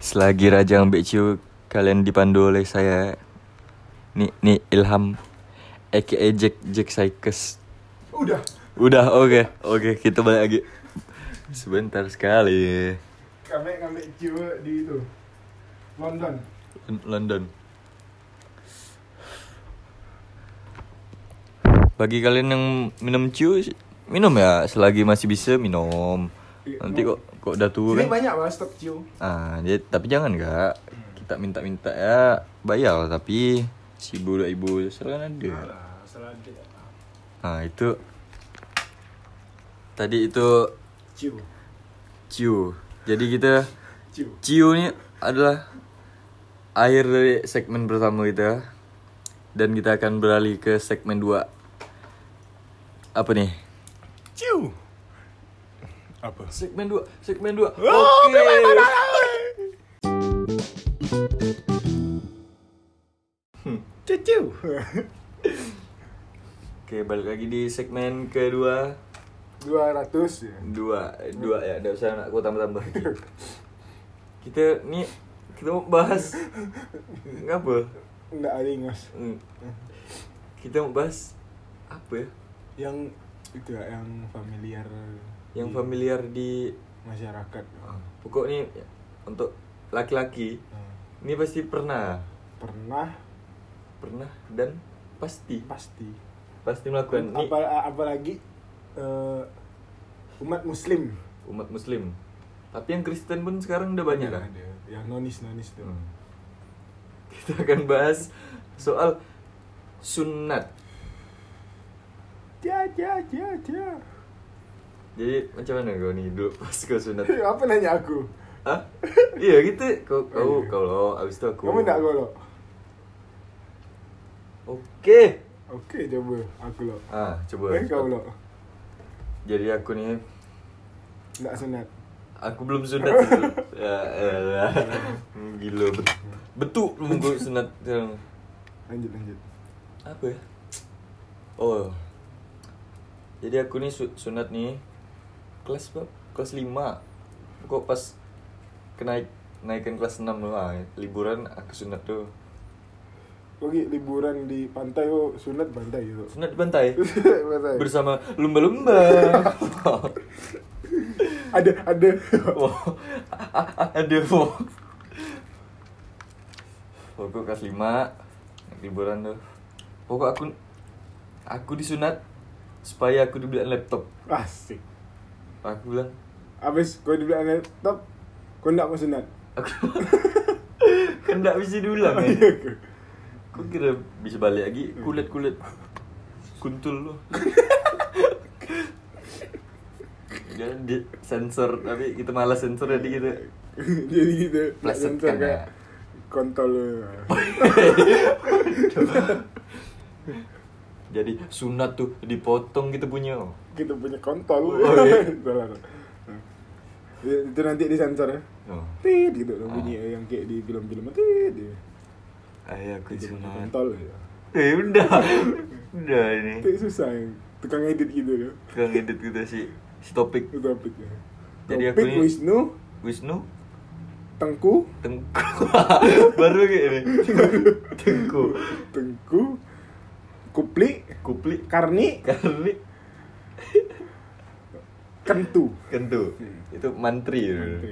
Speaker 2: Selagi Raja Ambekciu kalian dipandu oleh saya Nih, nih Ilham aka Jack Jack Sykes.
Speaker 1: Udah.
Speaker 2: Udah oke, oke kita balik lagi. Sebentar sekali.
Speaker 1: Kami ngambil ciu di itu. London.
Speaker 2: Lon- London. Bagi kalian yang minum ciu, minum ya selagi masih bisa minum. Nanti kok kok udah tua
Speaker 1: Ini
Speaker 2: kan.
Speaker 1: banyak lah stok ciu.
Speaker 2: Ah, dia, tapi jangan kak. Kita minta-minta ya bayar lah, tapi si ibu dua ibu selalu kan ada.
Speaker 1: Alah, salah dia.
Speaker 2: Nah itu tadi itu
Speaker 1: Ciu.
Speaker 2: ciu. Jadi kita
Speaker 1: Ciu.
Speaker 2: ciu ini adalah akhir dari segmen pertama kita dan kita akan beralih ke segmen 2 apa nih
Speaker 1: Ciu. Apa?
Speaker 2: segmen 2 segmen 2 oke
Speaker 1: Oh, Ciu.
Speaker 2: Oke, balik lagi di segmen kedua.
Speaker 1: 200 ya.
Speaker 2: Dua, eh, dua ya, enggak usah aku tambah-tambah. kita nih kita mau bahas ngapa?
Speaker 1: Enggak ada ingus.
Speaker 2: Hmm. Kita mau bahas apa ya?
Speaker 1: Yang itu ya yang familiar
Speaker 2: Yang
Speaker 1: di
Speaker 2: familiar di
Speaker 1: masyarakat.
Speaker 2: pokok nih untuk laki-laki
Speaker 1: Nah,
Speaker 2: ini pasti pernah
Speaker 1: Ha, Pernah
Speaker 2: pernah dan pasti
Speaker 1: pasti.
Speaker 2: pasti melakukan ini
Speaker 1: Apa, apalagi eh, umat muslim.
Speaker 2: umat muslim tapi yang Kristen pun sekarang udah banyak kan
Speaker 1: Ada. Yang nonis-nonis tuh.
Speaker 2: Hmm. Kita akan bahas soal sunat.
Speaker 1: Ja ja ja ja.
Speaker 2: Jadi macam mana kau nih dulu pas kau sunat?
Speaker 1: Apa nanya aku?
Speaker 2: Hah? Iya gitu. Kau kau kau lo. Abis itu aku.
Speaker 1: Kamu nak golok?
Speaker 2: Oke.
Speaker 1: Okey, coba. Aku lo.
Speaker 2: Ah coba.
Speaker 1: Eh, kau lo.
Speaker 2: Jadi aku nih
Speaker 1: Nak sunat.
Speaker 2: aku belum sunat. dulu. ya, elah. Gila bet- betul belum kau sunat sekarang.
Speaker 1: Lanjut lanjut.
Speaker 2: Apa ya? Oh. Jadi aku nih su- sunat nih kelas berapa? Kelas 5. Kok pas kenaik naikin kelas 6 loh ah. liburan aku sunat tuh
Speaker 1: Oke, liburan di pantai oh sunat pantai gitu.
Speaker 2: sunat di pantai
Speaker 1: Pantai.
Speaker 2: bersama lumba-lumba
Speaker 1: ada ada
Speaker 2: wow aduh wow pokok kelas 5 liburan tuh pokok aku aku disunat supaya aku dibeliin laptop
Speaker 1: asik.
Speaker 2: aku bilang
Speaker 1: Abis kau dibelikan laptop, kau ndak mau sunat.
Speaker 2: aku kan nggak bisa diulang
Speaker 1: Oh,
Speaker 2: ya
Speaker 1: iya ke?
Speaker 2: Kau kira bisa balik lagi kulit-kulit kuntul lo. Dia di sensor tapi kita malas sensor jadi gitu.
Speaker 1: Jadi gitu.
Speaker 2: Pleset
Speaker 1: sensor
Speaker 2: kan,
Speaker 1: kayak
Speaker 2: ya?
Speaker 1: kontol.
Speaker 2: Jadi sunat tuh dipotong gitu punya. oh.
Speaker 1: Kita punya kontol.
Speaker 2: Oh, iya.
Speaker 1: Salah. Nah. Itu nanti disensor ya.
Speaker 2: Oh.
Speaker 1: Tit gitu tuh bunyi
Speaker 2: Ah.
Speaker 1: yang kayak di film-film tit. gitu.
Speaker 2: Ayo aku
Speaker 1: Kita punya
Speaker 2: sunat.
Speaker 1: Kontol. gitu.
Speaker 2: Eh udah. udah ini.
Speaker 1: Itu susah yang tukang edit gitu ya. loh.
Speaker 2: Kurang edit kita si si topik
Speaker 1: Itu topiknya.
Speaker 2: Jadi aku
Speaker 1: Topik
Speaker 2: ini-
Speaker 1: Wisnu,
Speaker 2: Wisnu
Speaker 1: Tengku,
Speaker 2: tengku baru kayak ini tengku
Speaker 1: Tengku, Kupli,
Speaker 2: kupli
Speaker 1: Karni,
Speaker 2: karni
Speaker 1: Kentu.
Speaker 2: kentu itu mantri, dulu. Nah,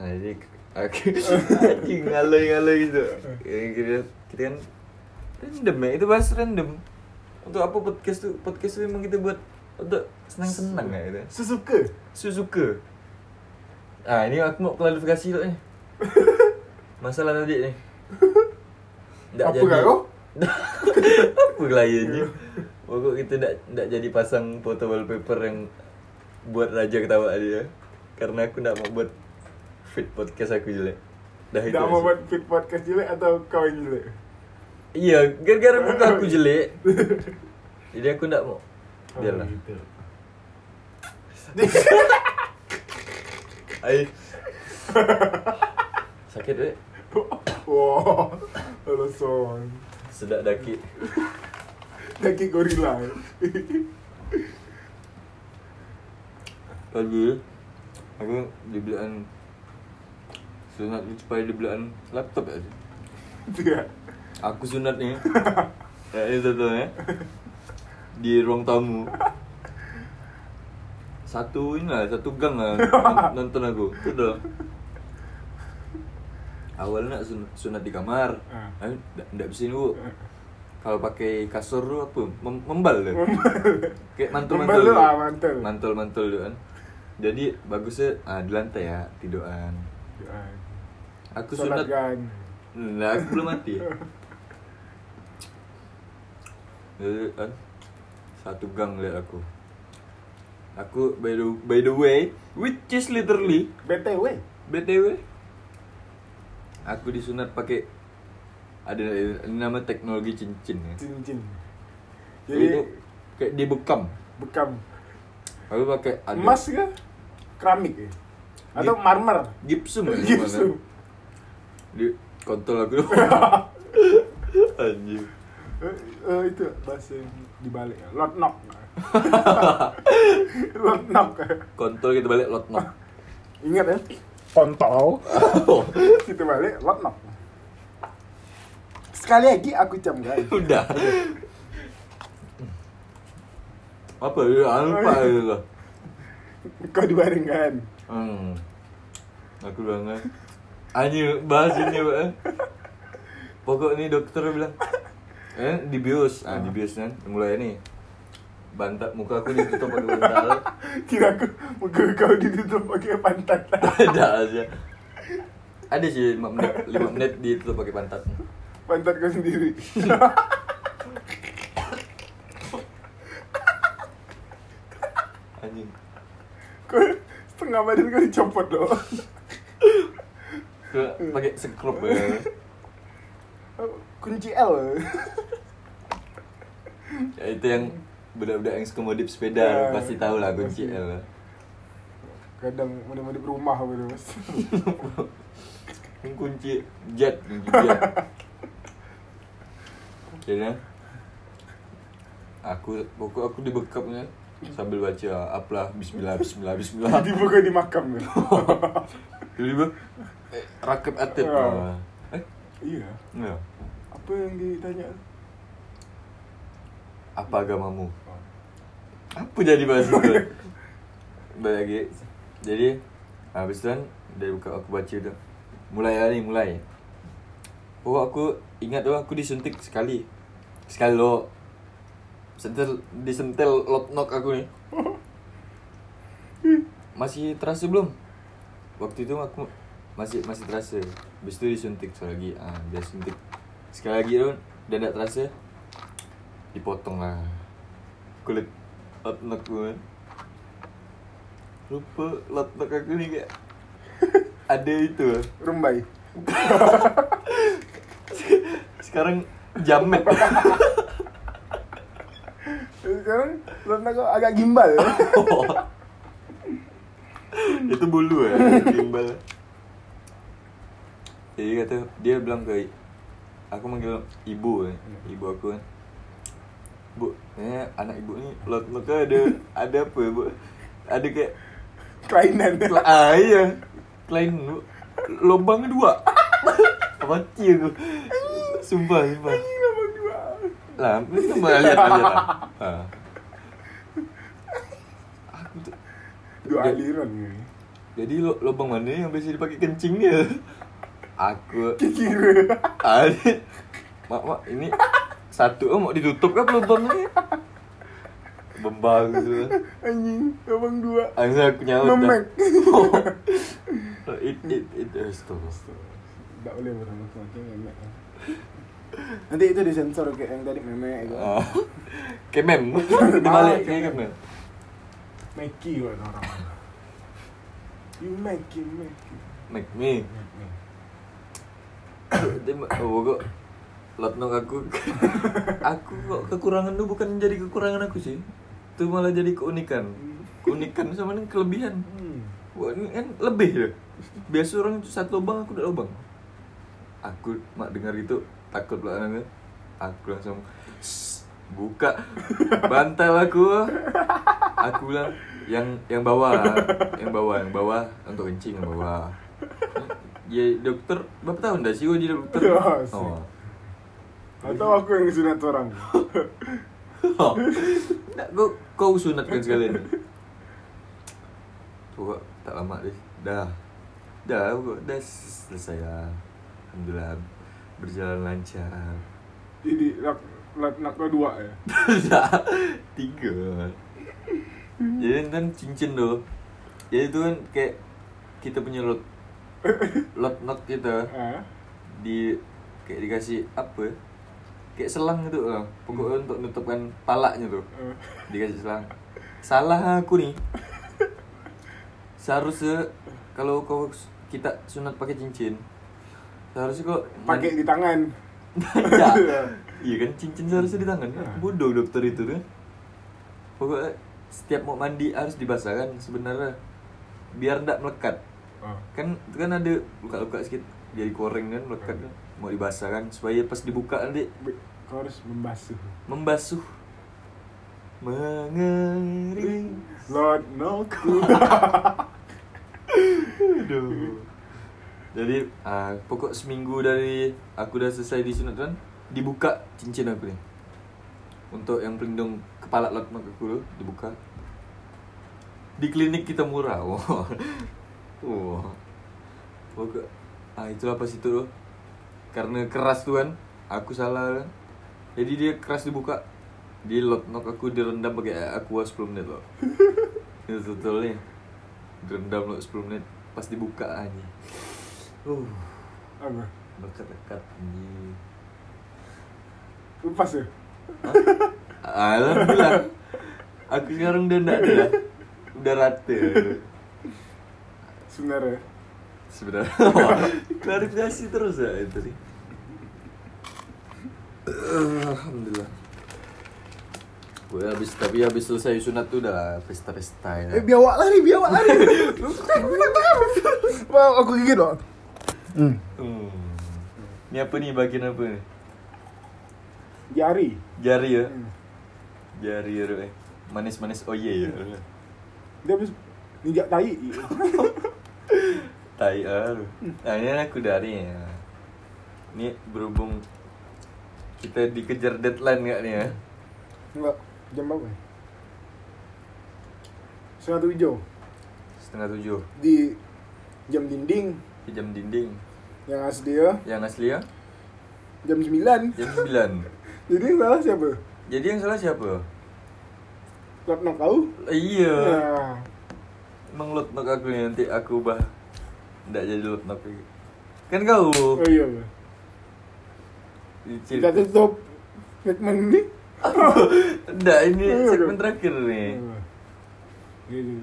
Speaker 2: Ah, jadi aku anjing ngalay ngalay gitu. Ya, kita, kita kan random ya, itu bahas random. Untuk apa podcast tuh? Podcast tuh memang kita buat untuk senang-senang ya itu.
Speaker 1: Susuke.
Speaker 2: Suzuka. Ah, ini aku mau klarifikasi dulu nih. Masalah tadi nih. Nggak
Speaker 1: Apa kau?
Speaker 2: apa kliennya? Pokok kita ndak ndak jadi pasang foto wallpaper yang buat raja ketawa dia. Karena aku ndak mau buat fit podcast aku jelek. Dah itu.
Speaker 1: Tidak mau
Speaker 2: aja.
Speaker 1: buat fit podcast jelek atau kau yang jelek?
Speaker 2: Iya, gara-gara muka aku jelek. jadi aku ndak
Speaker 1: Oh,
Speaker 2: mau. Biarlah. Ai. Sakit eh? weh.
Speaker 1: Wow, halo son.
Speaker 2: Sedak daki.
Speaker 1: Daki gorila. eh?
Speaker 2: Tadi aku dibelian sunat ni supaya dibelian laptop ya.
Speaker 1: Tidak.
Speaker 2: Aku sunat ni. ya, ini satu ya. Di ruang tamu. Satu ini lah, satu gang lah non- nonton aku. Itu dah. Awalnya nak sun- sunat di kamar.
Speaker 1: Ah.
Speaker 2: Eh, ndak- ndak bisa ni, Bu. Kalau pakai kasur tu apa? Mem- membal tu. Kayak
Speaker 1: Membal
Speaker 2: mantul-mantul.
Speaker 1: tu,
Speaker 2: tu.
Speaker 1: ah, mantul.
Speaker 2: Mantul-mantul tu kan. Jadi bagusnya ah, di lantai ya, tiduran. Aku sunat.
Speaker 1: kan.
Speaker 2: Nah, aku belum mati. Jadi kan satu gang lihat aku. Aku by the by the way, which is literally
Speaker 1: BTW.
Speaker 2: BTW aku disunat pakai ada ada nama teknologi cincin ya.
Speaker 1: Cincin.
Speaker 2: Jadi
Speaker 1: Jadi
Speaker 2: kayak dibekam.
Speaker 1: bekam.
Speaker 2: Aku pakai ada
Speaker 1: Emas kah? Keramik ya? Atau
Speaker 2: Gip-
Speaker 1: marmer? Gitu.
Speaker 2: gipsum ya,
Speaker 1: Gipsum.
Speaker 2: Di kontol aku. Anjir.
Speaker 1: Eh, eh, itu bahasa yang dibalik ya. Lot knock. Lot knock.
Speaker 2: Kontol kita balik lot knock.
Speaker 1: Ingat ya? Kontol. Kita balik lot knock. Sekali lagi aku cam guys.
Speaker 2: Udah. Apa ya? Ah, Lupa gitu loh.
Speaker 1: Kau dibarengkan.
Speaker 2: Hmm. Aku banget. Anjir, bahas ini, Pak. Pokok nih dokter bilang, eh dibius, ah dibius kan, mulai nih. Bantat muka aku ditutup pakai bantal.
Speaker 1: Kira aku muka kau ditutup pakai pantat.
Speaker 2: Ada aja. Ada sih 5 menit, 5 menit ditutup pakai pantat.
Speaker 1: Pantat kau sendiri.
Speaker 2: Anjing.
Speaker 1: Kau setengah badan kau dicopot loh.
Speaker 2: Ke- Pakai sekrup ya.
Speaker 1: Kunci L.
Speaker 2: ya itu yang budak-budak yang suka modif sepeda
Speaker 1: Ya,
Speaker 2: pasti tahu lah kunci
Speaker 1: pasti.
Speaker 2: L.
Speaker 1: Kadang mudi-mudi rumah gitu mas.
Speaker 2: Ini kunci jet, kunci jet. Jadi aku pokok aku dibekapnya sambil baca apalah bismillah bismillah bismillah.
Speaker 1: kan? Tiba kau di makam gitu.
Speaker 2: tiba-tiba eh, rakit atlet
Speaker 1: Iya.
Speaker 2: Wah. eh
Speaker 1: Iya.
Speaker 2: iya.
Speaker 1: Apa yang ditanya?
Speaker 2: apa agamamu apa jadi bahas itu balik lagi jadi habis itu kan dari buka aku baca tu mulai hari mulai oh aku ingat tu aku disuntik sekali sekali lo sentil disentil lotnok aku ni masih terasa belum waktu itu aku masih masih terasa habis itu disuntik sekali lagi ah dia suntik sekali lagi tu dah tak terasa dipotong lah kulit lotnok gue lupa lotnok aku nih kayak ada itu eh.
Speaker 1: Rumbai.
Speaker 2: sekarang jamet
Speaker 1: Eh, Sekarang lo kau agak gimbal. ya?
Speaker 2: itu bulu ya timbal jadi kata dia bilang ke aku manggil ibu kan. ibu aku kan bu eh anak ibu ni lotnoknya ada ada apa ya bu ada kayak
Speaker 1: Kelainan.
Speaker 2: Kela ah, iya. Klien lu- lubang dua. Mati aku. Sumpah, sumpah.
Speaker 1: Lubang dua.
Speaker 2: Lah, mesti malah lihat aja lah. Ha. Aku tu-
Speaker 1: Dua
Speaker 2: Dia-
Speaker 1: aliran ya? ni.
Speaker 2: Jadi lo- lubang mana yang biasa dipakai kencing dia? Aku
Speaker 1: Kira.
Speaker 2: ah, ni- Mak, mak, ini satu oh, mau ditutup kan lubang ni? Bembang tu.
Speaker 1: Anjing. Lubang dua.
Speaker 2: Angsa Ah, aku nyaut dah.
Speaker 1: Memek.
Speaker 2: It, it, it, eh, astagfirullah.
Speaker 1: Tak boleh bersama-sama macam memek lah. Nanti itu disensor kayak yang tadi memek itu.
Speaker 2: Ah. Kemem. Di balik
Speaker 1: Kemem.
Speaker 2: kayak kemem.
Speaker 1: Meki kan orang mana. You Meki, Meki.
Speaker 2: Make me.
Speaker 1: Meki.
Speaker 2: Dia ma- oh kok lotnok aku. aku kok kekurangan lu bukan jadi kekurangan aku sih. Itu malah jadi keunikan. Keunikan sama dengan kelebihan.
Speaker 1: Hmm.
Speaker 2: Wah, ini kan lebih ya. Biasa orang itu satu lubang, aku udah lubang. Aku mak dengar itu takut pula anaknya. Aku langsung "Sss, buka bantal aku. Aku bilang yang yang bawah, yang bawah, yang bawah untuk kencing yang bawah. Ya dokter, berapa tahun dah sih gua jadi dokter?
Speaker 1: Ya, sih.
Speaker 2: Oh.
Speaker 1: Atau aku yang sunat orang.
Speaker 2: Nak kau kau sunatkan sekalian. Tu kak, tak lama deh. Dah. Dah aku dah selesai lah. Alhamdulillah berjalan lancar.
Speaker 1: Jadi nak nak nak kau dua ya.
Speaker 2: dah tiga. Jadi kan cincin tu. Jadi tu kan kayak kita punya lot lot not kita
Speaker 1: Ah.
Speaker 2: di kayak dikasih apa? Kayak selang gitu lah. Pokoknya untuk nutupkan palaknya tuh.
Speaker 1: Ah.
Speaker 2: dikasih selang salah aku nih seharusnya kalau kau kita sunat pakai cincin seharusnya kok
Speaker 1: Pakai di tangan. Ya.
Speaker 2: tidak iya kan cincin seharusnya di tangan kan? bodoh dokter itu kan pokoknya setiap mau mandi harus dibasahkan sebenarnya biar tidak melekat
Speaker 1: Ah.
Speaker 2: kan itu kan ada luka-luka sedikit jadi koreng kan melekat kan mau dibasahkan supaya pas dibuka nanti
Speaker 1: Be- Kau harus membasuh.
Speaker 2: membasuh mengering
Speaker 1: Lord no
Speaker 2: Aduh. Jadi ah, pokok seminggu dari aku dah selesai disunat tu kan dibuka cincin aku ni. Untuk yang pelindung kepala lotmak aku tu dibuka. Di klinik kita murah. Wah. Wah. Pokok ah itulah pas itu tu. Karena keras tu kan. Aku salah kan. Jadi dia keras dibuka. Di lotnok aku direndam pakai air aqua 10 menit loh. Itu betul ni. Direndam loh 10 menit pas dibuka aja.
Speaker 1: Oh.
Speaker 2: Uh,
Speaker 1: Apa?
Speaker 2: berkat-dekat anjing.
Speaker 1: Lepas ya?
Speaker 2: Alhamdulillah. Aku sekarang udah enggak ada lah. Udah rata.
Speaker 1: Sebenarnya
Speaker 2: Sebenarnya. Klarifikasi terus ya itu nih. Alhamdulillah. Gue habis tapi habis selesai sunat tuh udah pesta-pesta ya.
Speaker 1: Eh biawak lari, biawak lari Wow, aku gigit loh hmm.
Speaker 2: Hmm. Ini apa nih bagian apa nih?
Speaker 1: Jari
Speaker 2: Jari ya.
Speaker 1: Hmm.
Speaker 2: Jari ya. Ruk, eh. Manis-manis oh iya ya.
Speaker 1: Dia habis ninjak tai
Speaker 2: Tai lalu. Nah ini aku dari ya. Ini berhubung kita dikejar deadline nggak nih ya?
Speaker 1: Enggak, jam berapa? ya? Setengah tujuh
Speaker 2: Setengah tujuh
Speaker 1: di jam dinding
Speaker 2: di jam dinding.
Speaker 1: yang asli ya
Speaker 2: Yang asli ya
Speaker 1: jam sembilan.
Speaker 2: jam sembilan.
Speaker 1: Jadi salah siapa?
Speaker 2: Jadi yang salah siapa?
Speaker 1: Klub nak Ya. kau?
Speaker 2: Iya.
Speaker 1: Nah,
Speaker 2: Emang lotnok aku nih, nanti aku bah Nggak jadi lotnok lagi Kan kau
Speaker 1: oh iya. Bro.
Speaker 2: Dicil
Speaker 1: Kita tutup segmen ini.
Speaker 2: Nggak ini
Speaker 1: Iya,
Speaker 2: segmen
Speaker 1: dong.
Speaker 2: terakhir nih
Speaker 1: Nah, Gitu.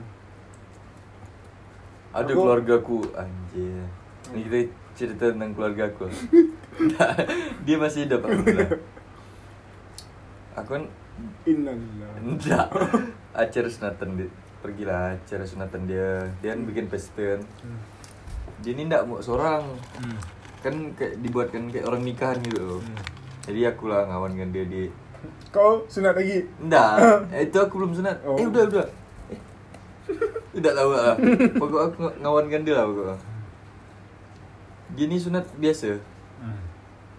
Speaker 2: Ada
Speaker 1: Aku-
Speaker 2: keluargaku Anjir Ini kita cerita tentang keluargaku Nggak, Dia masih hidup aku bilang. Aku kan
Speaker 1: Innalillahi.
Speaker 2: Nggak Acara sunatan dia Pergilah acara sunatan dia Dia kan bikin pesta kan. Dia ini nggak mau seorang
Speaker 1: Hmm.
Speaker 2: Kan kayak dibuatkan kayak orang nikahan gitu loh Jadi akulah ngawan dengan dia di
Speaker 1: Kau sunat lagi?
Speaker 2: Enggak, itu aku belum sunat.
Speaker 1: Oh.
Speaker 2: Eh udah udah. Eh. Tidak tahu lah. Pokok aku ng- ngawankan dia lah pokok. Gini sunat biasa.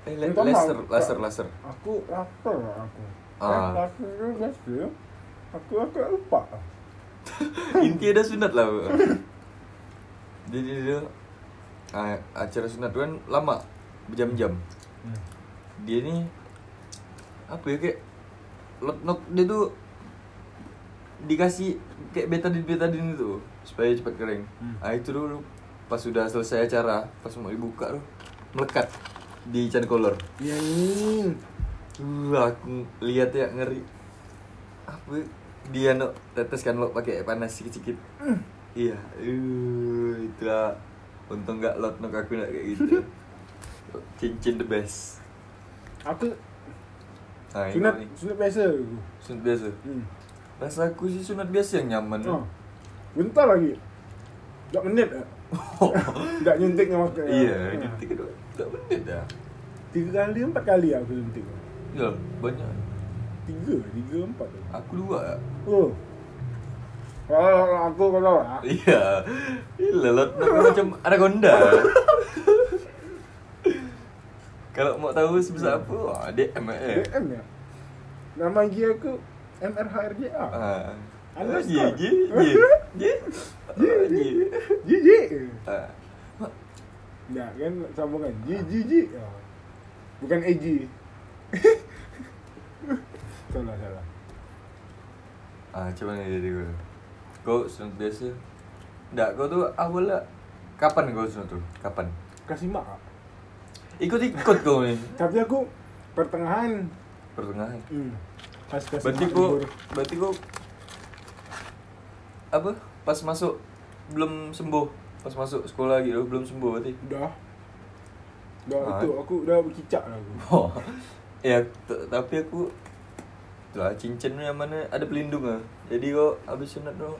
Speaker 2: Eh le-
Speaker 1: Entah
Speaker 2: laser,
Speaker 1: lah.
Speaker 2: laser, laser.
Speaker 1: Aku lapar aku.
Speaker 2: Ah.
Speaker 1: Lapar tu biasa. Aku agak lupa.
Speaker 2: Inti ada sunat lah pokok. Jadi dia ah, acara sunat tu kan lama berjam-jam. Dia ni apa ya kayak lotnok dia tu dikasih kayak betadin betadin itu supaya cepat kering.
Speaker 1: Hmm.
Speaker 2: Ah itu dulu pas sudah selesai acara, pas mau dibuka tuh melekat di can color.
Speaker 1: Ya ini.
Speaker 2: Uh, aku lihat ya ngeri. Apa ya? dia no teteskan lo pakai panas sedikit-sedikit.
Speaker 1: Hmm.
Speaker 2: Iya, uh, itu lah. Untung nggak lot nok aku nggak kayak gitu. Cincin the best.
Speaker 1: Aku
Speaker 2: Nah, ini
Speaker 1: sunat
Speaker 2: nih.
Speaker 1: sunat biasa. aku.
Speaker 2: sunat biasa.
Speaker 1: Hmm.
Speaker 2: Rasa aku sih sunat biasa yang nyaman.
Speaker 1: Oh. Bentar lagi. Tak menit tak? tak nyuntik dengan Ah. makan.
Speaker 2: Iya, nyetik kedua. Gak bener dah.
Speaker 1: Tiga kali, empat kali aku suntik.
Speaker 2: Ya, banyak.
Speaker 1: Tiga, tiga, empat.
Speaker 2: Aku dua.
Speaker 1: Oh. Kalau aku kalau lah. aku.
Speaker 2: Iya. Iya, lot aku lah, macam anaconda. Kalau mau tahu sebesar apa, wah, DM eh.
Speaker 1: DM ya. Nama IG aku MRHRJA.
Speaker 2: Ah.
Speaker 1: Anda
Speaker 2: Ye,
Speaker 1: skor.
Speaker 2: ye, ye. Ye. Ah, ye.
Speaker 1: JJ.
Speaker 2: Ah.
Speaker 1: Ya kan sambungan. JJJ. Ah. Bukan AJ. salah salah.
Speaker 2: Ah, macam mana jadi kau? Kau sunat biasa? Tak, kau tu awal lah. Kapan kau sunat tu? Kapan?
Speaker 1: Kasih mak.
Speaker 2: Ikut-ikut kau ni.
Speaker 1: Tapi aku pertengahan.
Speaker 2: Pertengahan.
Speaker 1: Hmm. Pas kasih
Speaker 2: Berarti
Speaker 1: mak
Speaker 2: kau
Speaker 1: libur.
Speaker 2: berarti kau apa? Pas masuk belum sembuh. Pas masuk sekolah gitu belum sembuh berarti.
Speaker 1: Dah. Dah
Speaker 2: Ah.
Speaker 1: itu aku dah berkicak lah aku.
Speaker 2: Oh. ya, t- tapi aku Tuh, cincin yang mana ada pelindung ah. Jadi kau habis sunat tu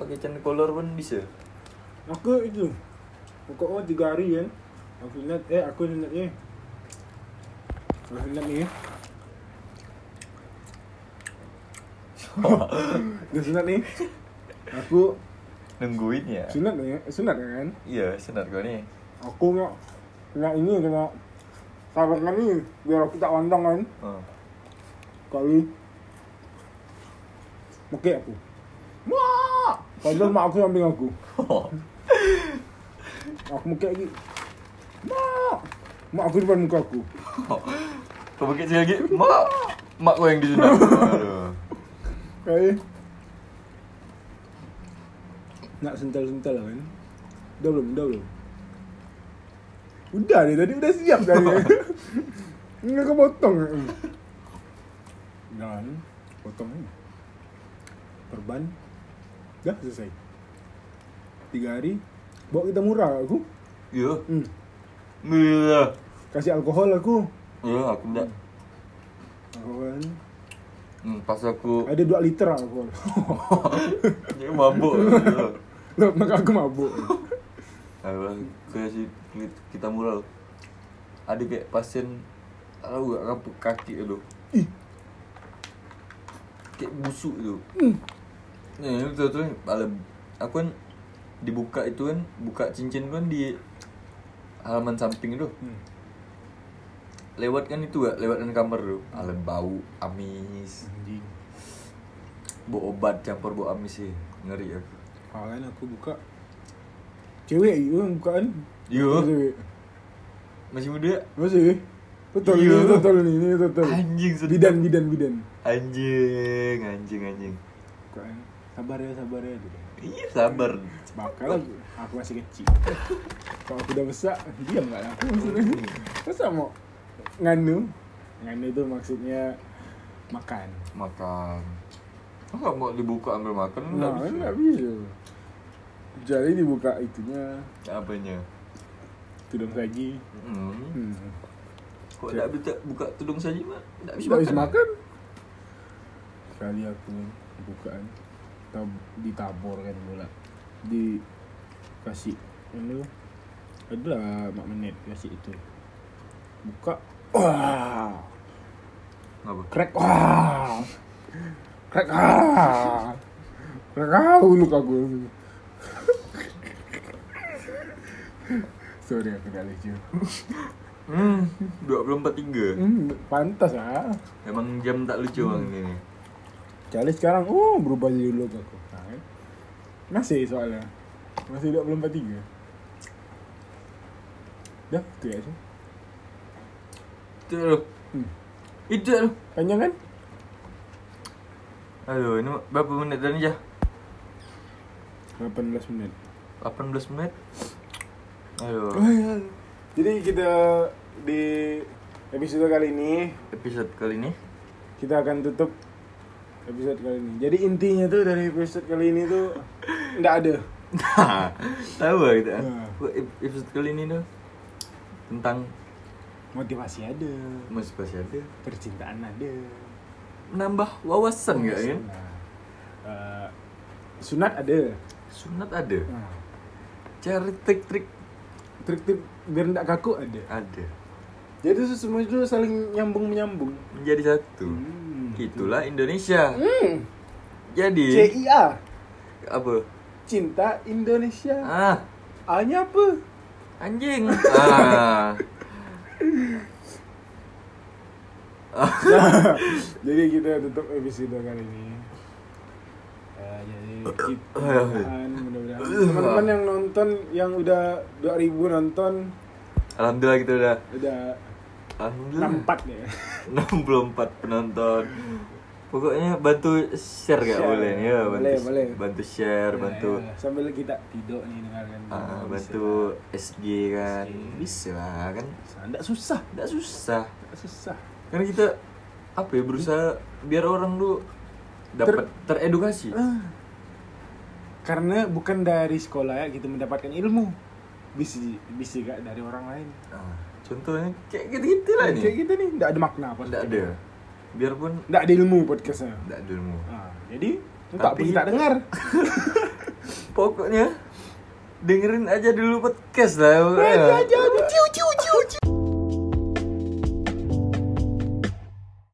Speaker 2: pakai can collar pun bisa.
Speaker 1: Aku itu. Pokok oh tiga hari kan. Aku ingat eh aku ingat eh. Aku ingat ni. eh. Dia sunat ni. ya. Aku
Speaker 2: Nungguin ya.
Speaker 1: sunat ni, eh, sunat kan.
Speaker 2: Iya, sunat kau ni.
Speaker 1: Aku nak nak ini kena sarungan ni biar aku tak wandang kan.
Speaker 2: Oh.
Speaker 1: Kali Mekik aku Mak Padahal mak aku samping aku Aku mekik lagi Mak Mak aku depan muka aku
Speaker 2: Kau pakai sekali lagi. Mak, mak kau yang disunat. Aduh.
Speaker 1: Kali Nak sental-sental lah kan Dah belum, dah belum Udah dia tadi, udah siap dah dia Enggak kau potong Dan Potong ni Perban Dah selesai Tiga hari Bawa kita murah aku
Speaker 2: Ya.
Speaker 1: hmm.
Speaker 2: Mila.
Speaker 1: Kasih alkohol aku
Speaker 2: Ya, aku ndak.
Speaker 1: Alkohol ni.
Speaker 2: Hmm, pas aku
Speaker 1: Ada dua liter alkohol
Speaker 2: Dia mabuk
Speaker 1: Maka aku mabuk
Speaker 2: Ayolah, kayak si kli- kita mural Ada kayak pasien Tak tahu gak kapuk kaki tu
Speaker 1: Hmm.
Speaker 2: Nah, Kayak busuk tu Ni betul-betul ni, ada Aku kan dibuka itu kan buka cincin kan di halaman samping itu
Speaker 1: Hmm.
Speaker 2: lewat kan itu gak lewat kan kamar tuh alat bau amis
Speaker 1: Anjing.
Speaker 2: bau obat campur bau amis sih ngeri ya
Speaker 1: Awalnya aku buka cewek itu yang buka kan?
Speaker 2: Iya.
Speaker 1: Cewek.
Speaker 2: masih muda
Speaker 1: Masih? Betul
Speaker 2: Iya.
Speaker 1: ini betul ini ini betul.
Speaker 2: Anjing, sedap.
Speaker 1: Bidan bidan bidan.
Speaker 2: anjing anjing anjing
Speaker 1: Buka kan. Sabar ya sabar ya gitu.
Speaker 2: iya sabar
Speaker 1: Bakal aku, aku masih kecil. Kalau aku udah besar, diam nggak aku maksudnya. Masa mau nganu? Nganu itu maksudnya makan.
Speaker 2: makan nggak mau dibuka ambil makan nggak
Speaker 1: Nah,
Speaker 2: bisa.
Speaker 1: nggak bisa. Jadi dibuka itunya,
Speaker 2: apanya
Speaker 1: tudung saji.
Speaker 2: Hmm.
Speaker 1: Hmm.
Speaker 2: Kok tak bisa buka tudung saja mah? Tak bisa
Speaker 1: Bisa habis
Speaker 2: makan.
Speaker 1: makan. Sekali aku bukaan tab ditabur kan bola. Di kasih ini adalah 4 lah menit kasih itu. Buka. Wah.
Speaker 2: Apa?
Speaker 1: Krek. Wah. Krek. Ah. Krek ah uluk aku. Sorry aku gak lucu.
Speaker 2: Hmm, 24.3.
Speaker 1: Hmm, pantas ah.
Speaker 2: Emang jam tak lucu bang ini.
Speaker 1: Kecuali sekarang, oh berubah jadi logo aku. Nah, kan? masih soalnya. Masih 24-3. Dah, itu ya. Syah.
Speaker 2: Itu loh.
Speaker 1: Hmm.
Speaker 2: Itu loh.
Speaker 1: Panjang kan?
Speaker 2: Aduh, ini berapa menit tadi ya?
Speaker 1: 18 menit.
Speaker 2: 18 menit. Aduh.
Speaker 1: Oh, Eh. iya. Jadi kita di episode kali ini,
Speaker 2: Episode kali ini
Speaker 1: kita akan tutup episode kali ini. Jadi intinya tuh dari episode kali ini tuh ndak ada.
Speaker 2: Nah, tahu gak kita?
Speaker 1: Nah.
Speaker 2: Ep- Episode kali ini tuh tentang
Speaker 1: Motivasi ada,
Speaker 2: motivasi ada,
Speaker 1: percintaan ada.
Speaker 2: menambah wawasan gak kan?
Speaker 1: Nah, eh, sunat ada.
Speaker 2: Sunat ada,
Speaker 1: Nah,
Speaker 2: cari trik-trik
Speaker 1: trik-trik biar ndak kaku ada.
Speaker 2: ada,
Speaker 1: Jadi itu semua itu saling nyambung menyambung.
Speaker 2: menjadi satu.
Speaker 1: Hmm.
Speaker 2: Itulah Indonesia.
Speaker 1: Hmm.
Speaker 2: Jadi
Speaker 1: CIA
Speaker 2: apa?
Speaker 1: Cinta Indonesia.
Speaker 2: Ah,
Speaker 1: A-nya apa?
Speaker 2: anjing. Ah.
Speaker 1: jadi kita tutup episode kali ini. Ya, jadi kita mudahan, mudah-mudahan teman-teman yang nonton yang udah 2000 nonton
Speaker 2: Alhamdulillah kita udah
Speaker 1: udah
Speaker 2: Alhamdulillah.
Speaker 1: 64 ya.
Speaker 2: 64 penonton. Pokoknya bantu share gak
Speaker 1: Share.
Speaker 2: boleh nih, ya, bantu,
Speaker 1: Boleh, boleh.
Speaker 2: bantu share,
Speaker 1: Ya,
Speaker 2: bantu
Speaker 1: ya. Sambil kita tidur nih dengarkan. Bisa.
Speaker 2: ah, bantu SG kan.
Speaker 1: SG.
Speaker 2: Bisa lah kan.
Speaker 1: Bisa. Nggak susah,
Speaker 2: Enggak susah.
Speaker 1: nggak susah.
Speaker 2: Karena kita apa ya berusaha biar orang tuh dapat teredukasi.
Speaker 1: Ah. Karena bukan dari sekolah ya kita mendapatkan ilmu. Bisa bisa gak dari orang lain.
Speaker 2: Ah, contohnya kayak gitu-gitu lah
Speaker 1: Kayak
Speaker 2: nih.
Speaker 1: kita nih enggak ada makna apa.
Speaker 2: Enggak ada. Biarpun
Speaker 1: Enggak ada ilmu podcastnya.
Speaker 2: enggak ada ilmu.
Speaker 1: Nah, jadi lu tak
Speaker 2: Tapi-
Speaker 1: pergi tak dengar.
Speaker 2: Pokoknya dengerin aja dulu podcast lah. ya.
Speaker 1: Aja aja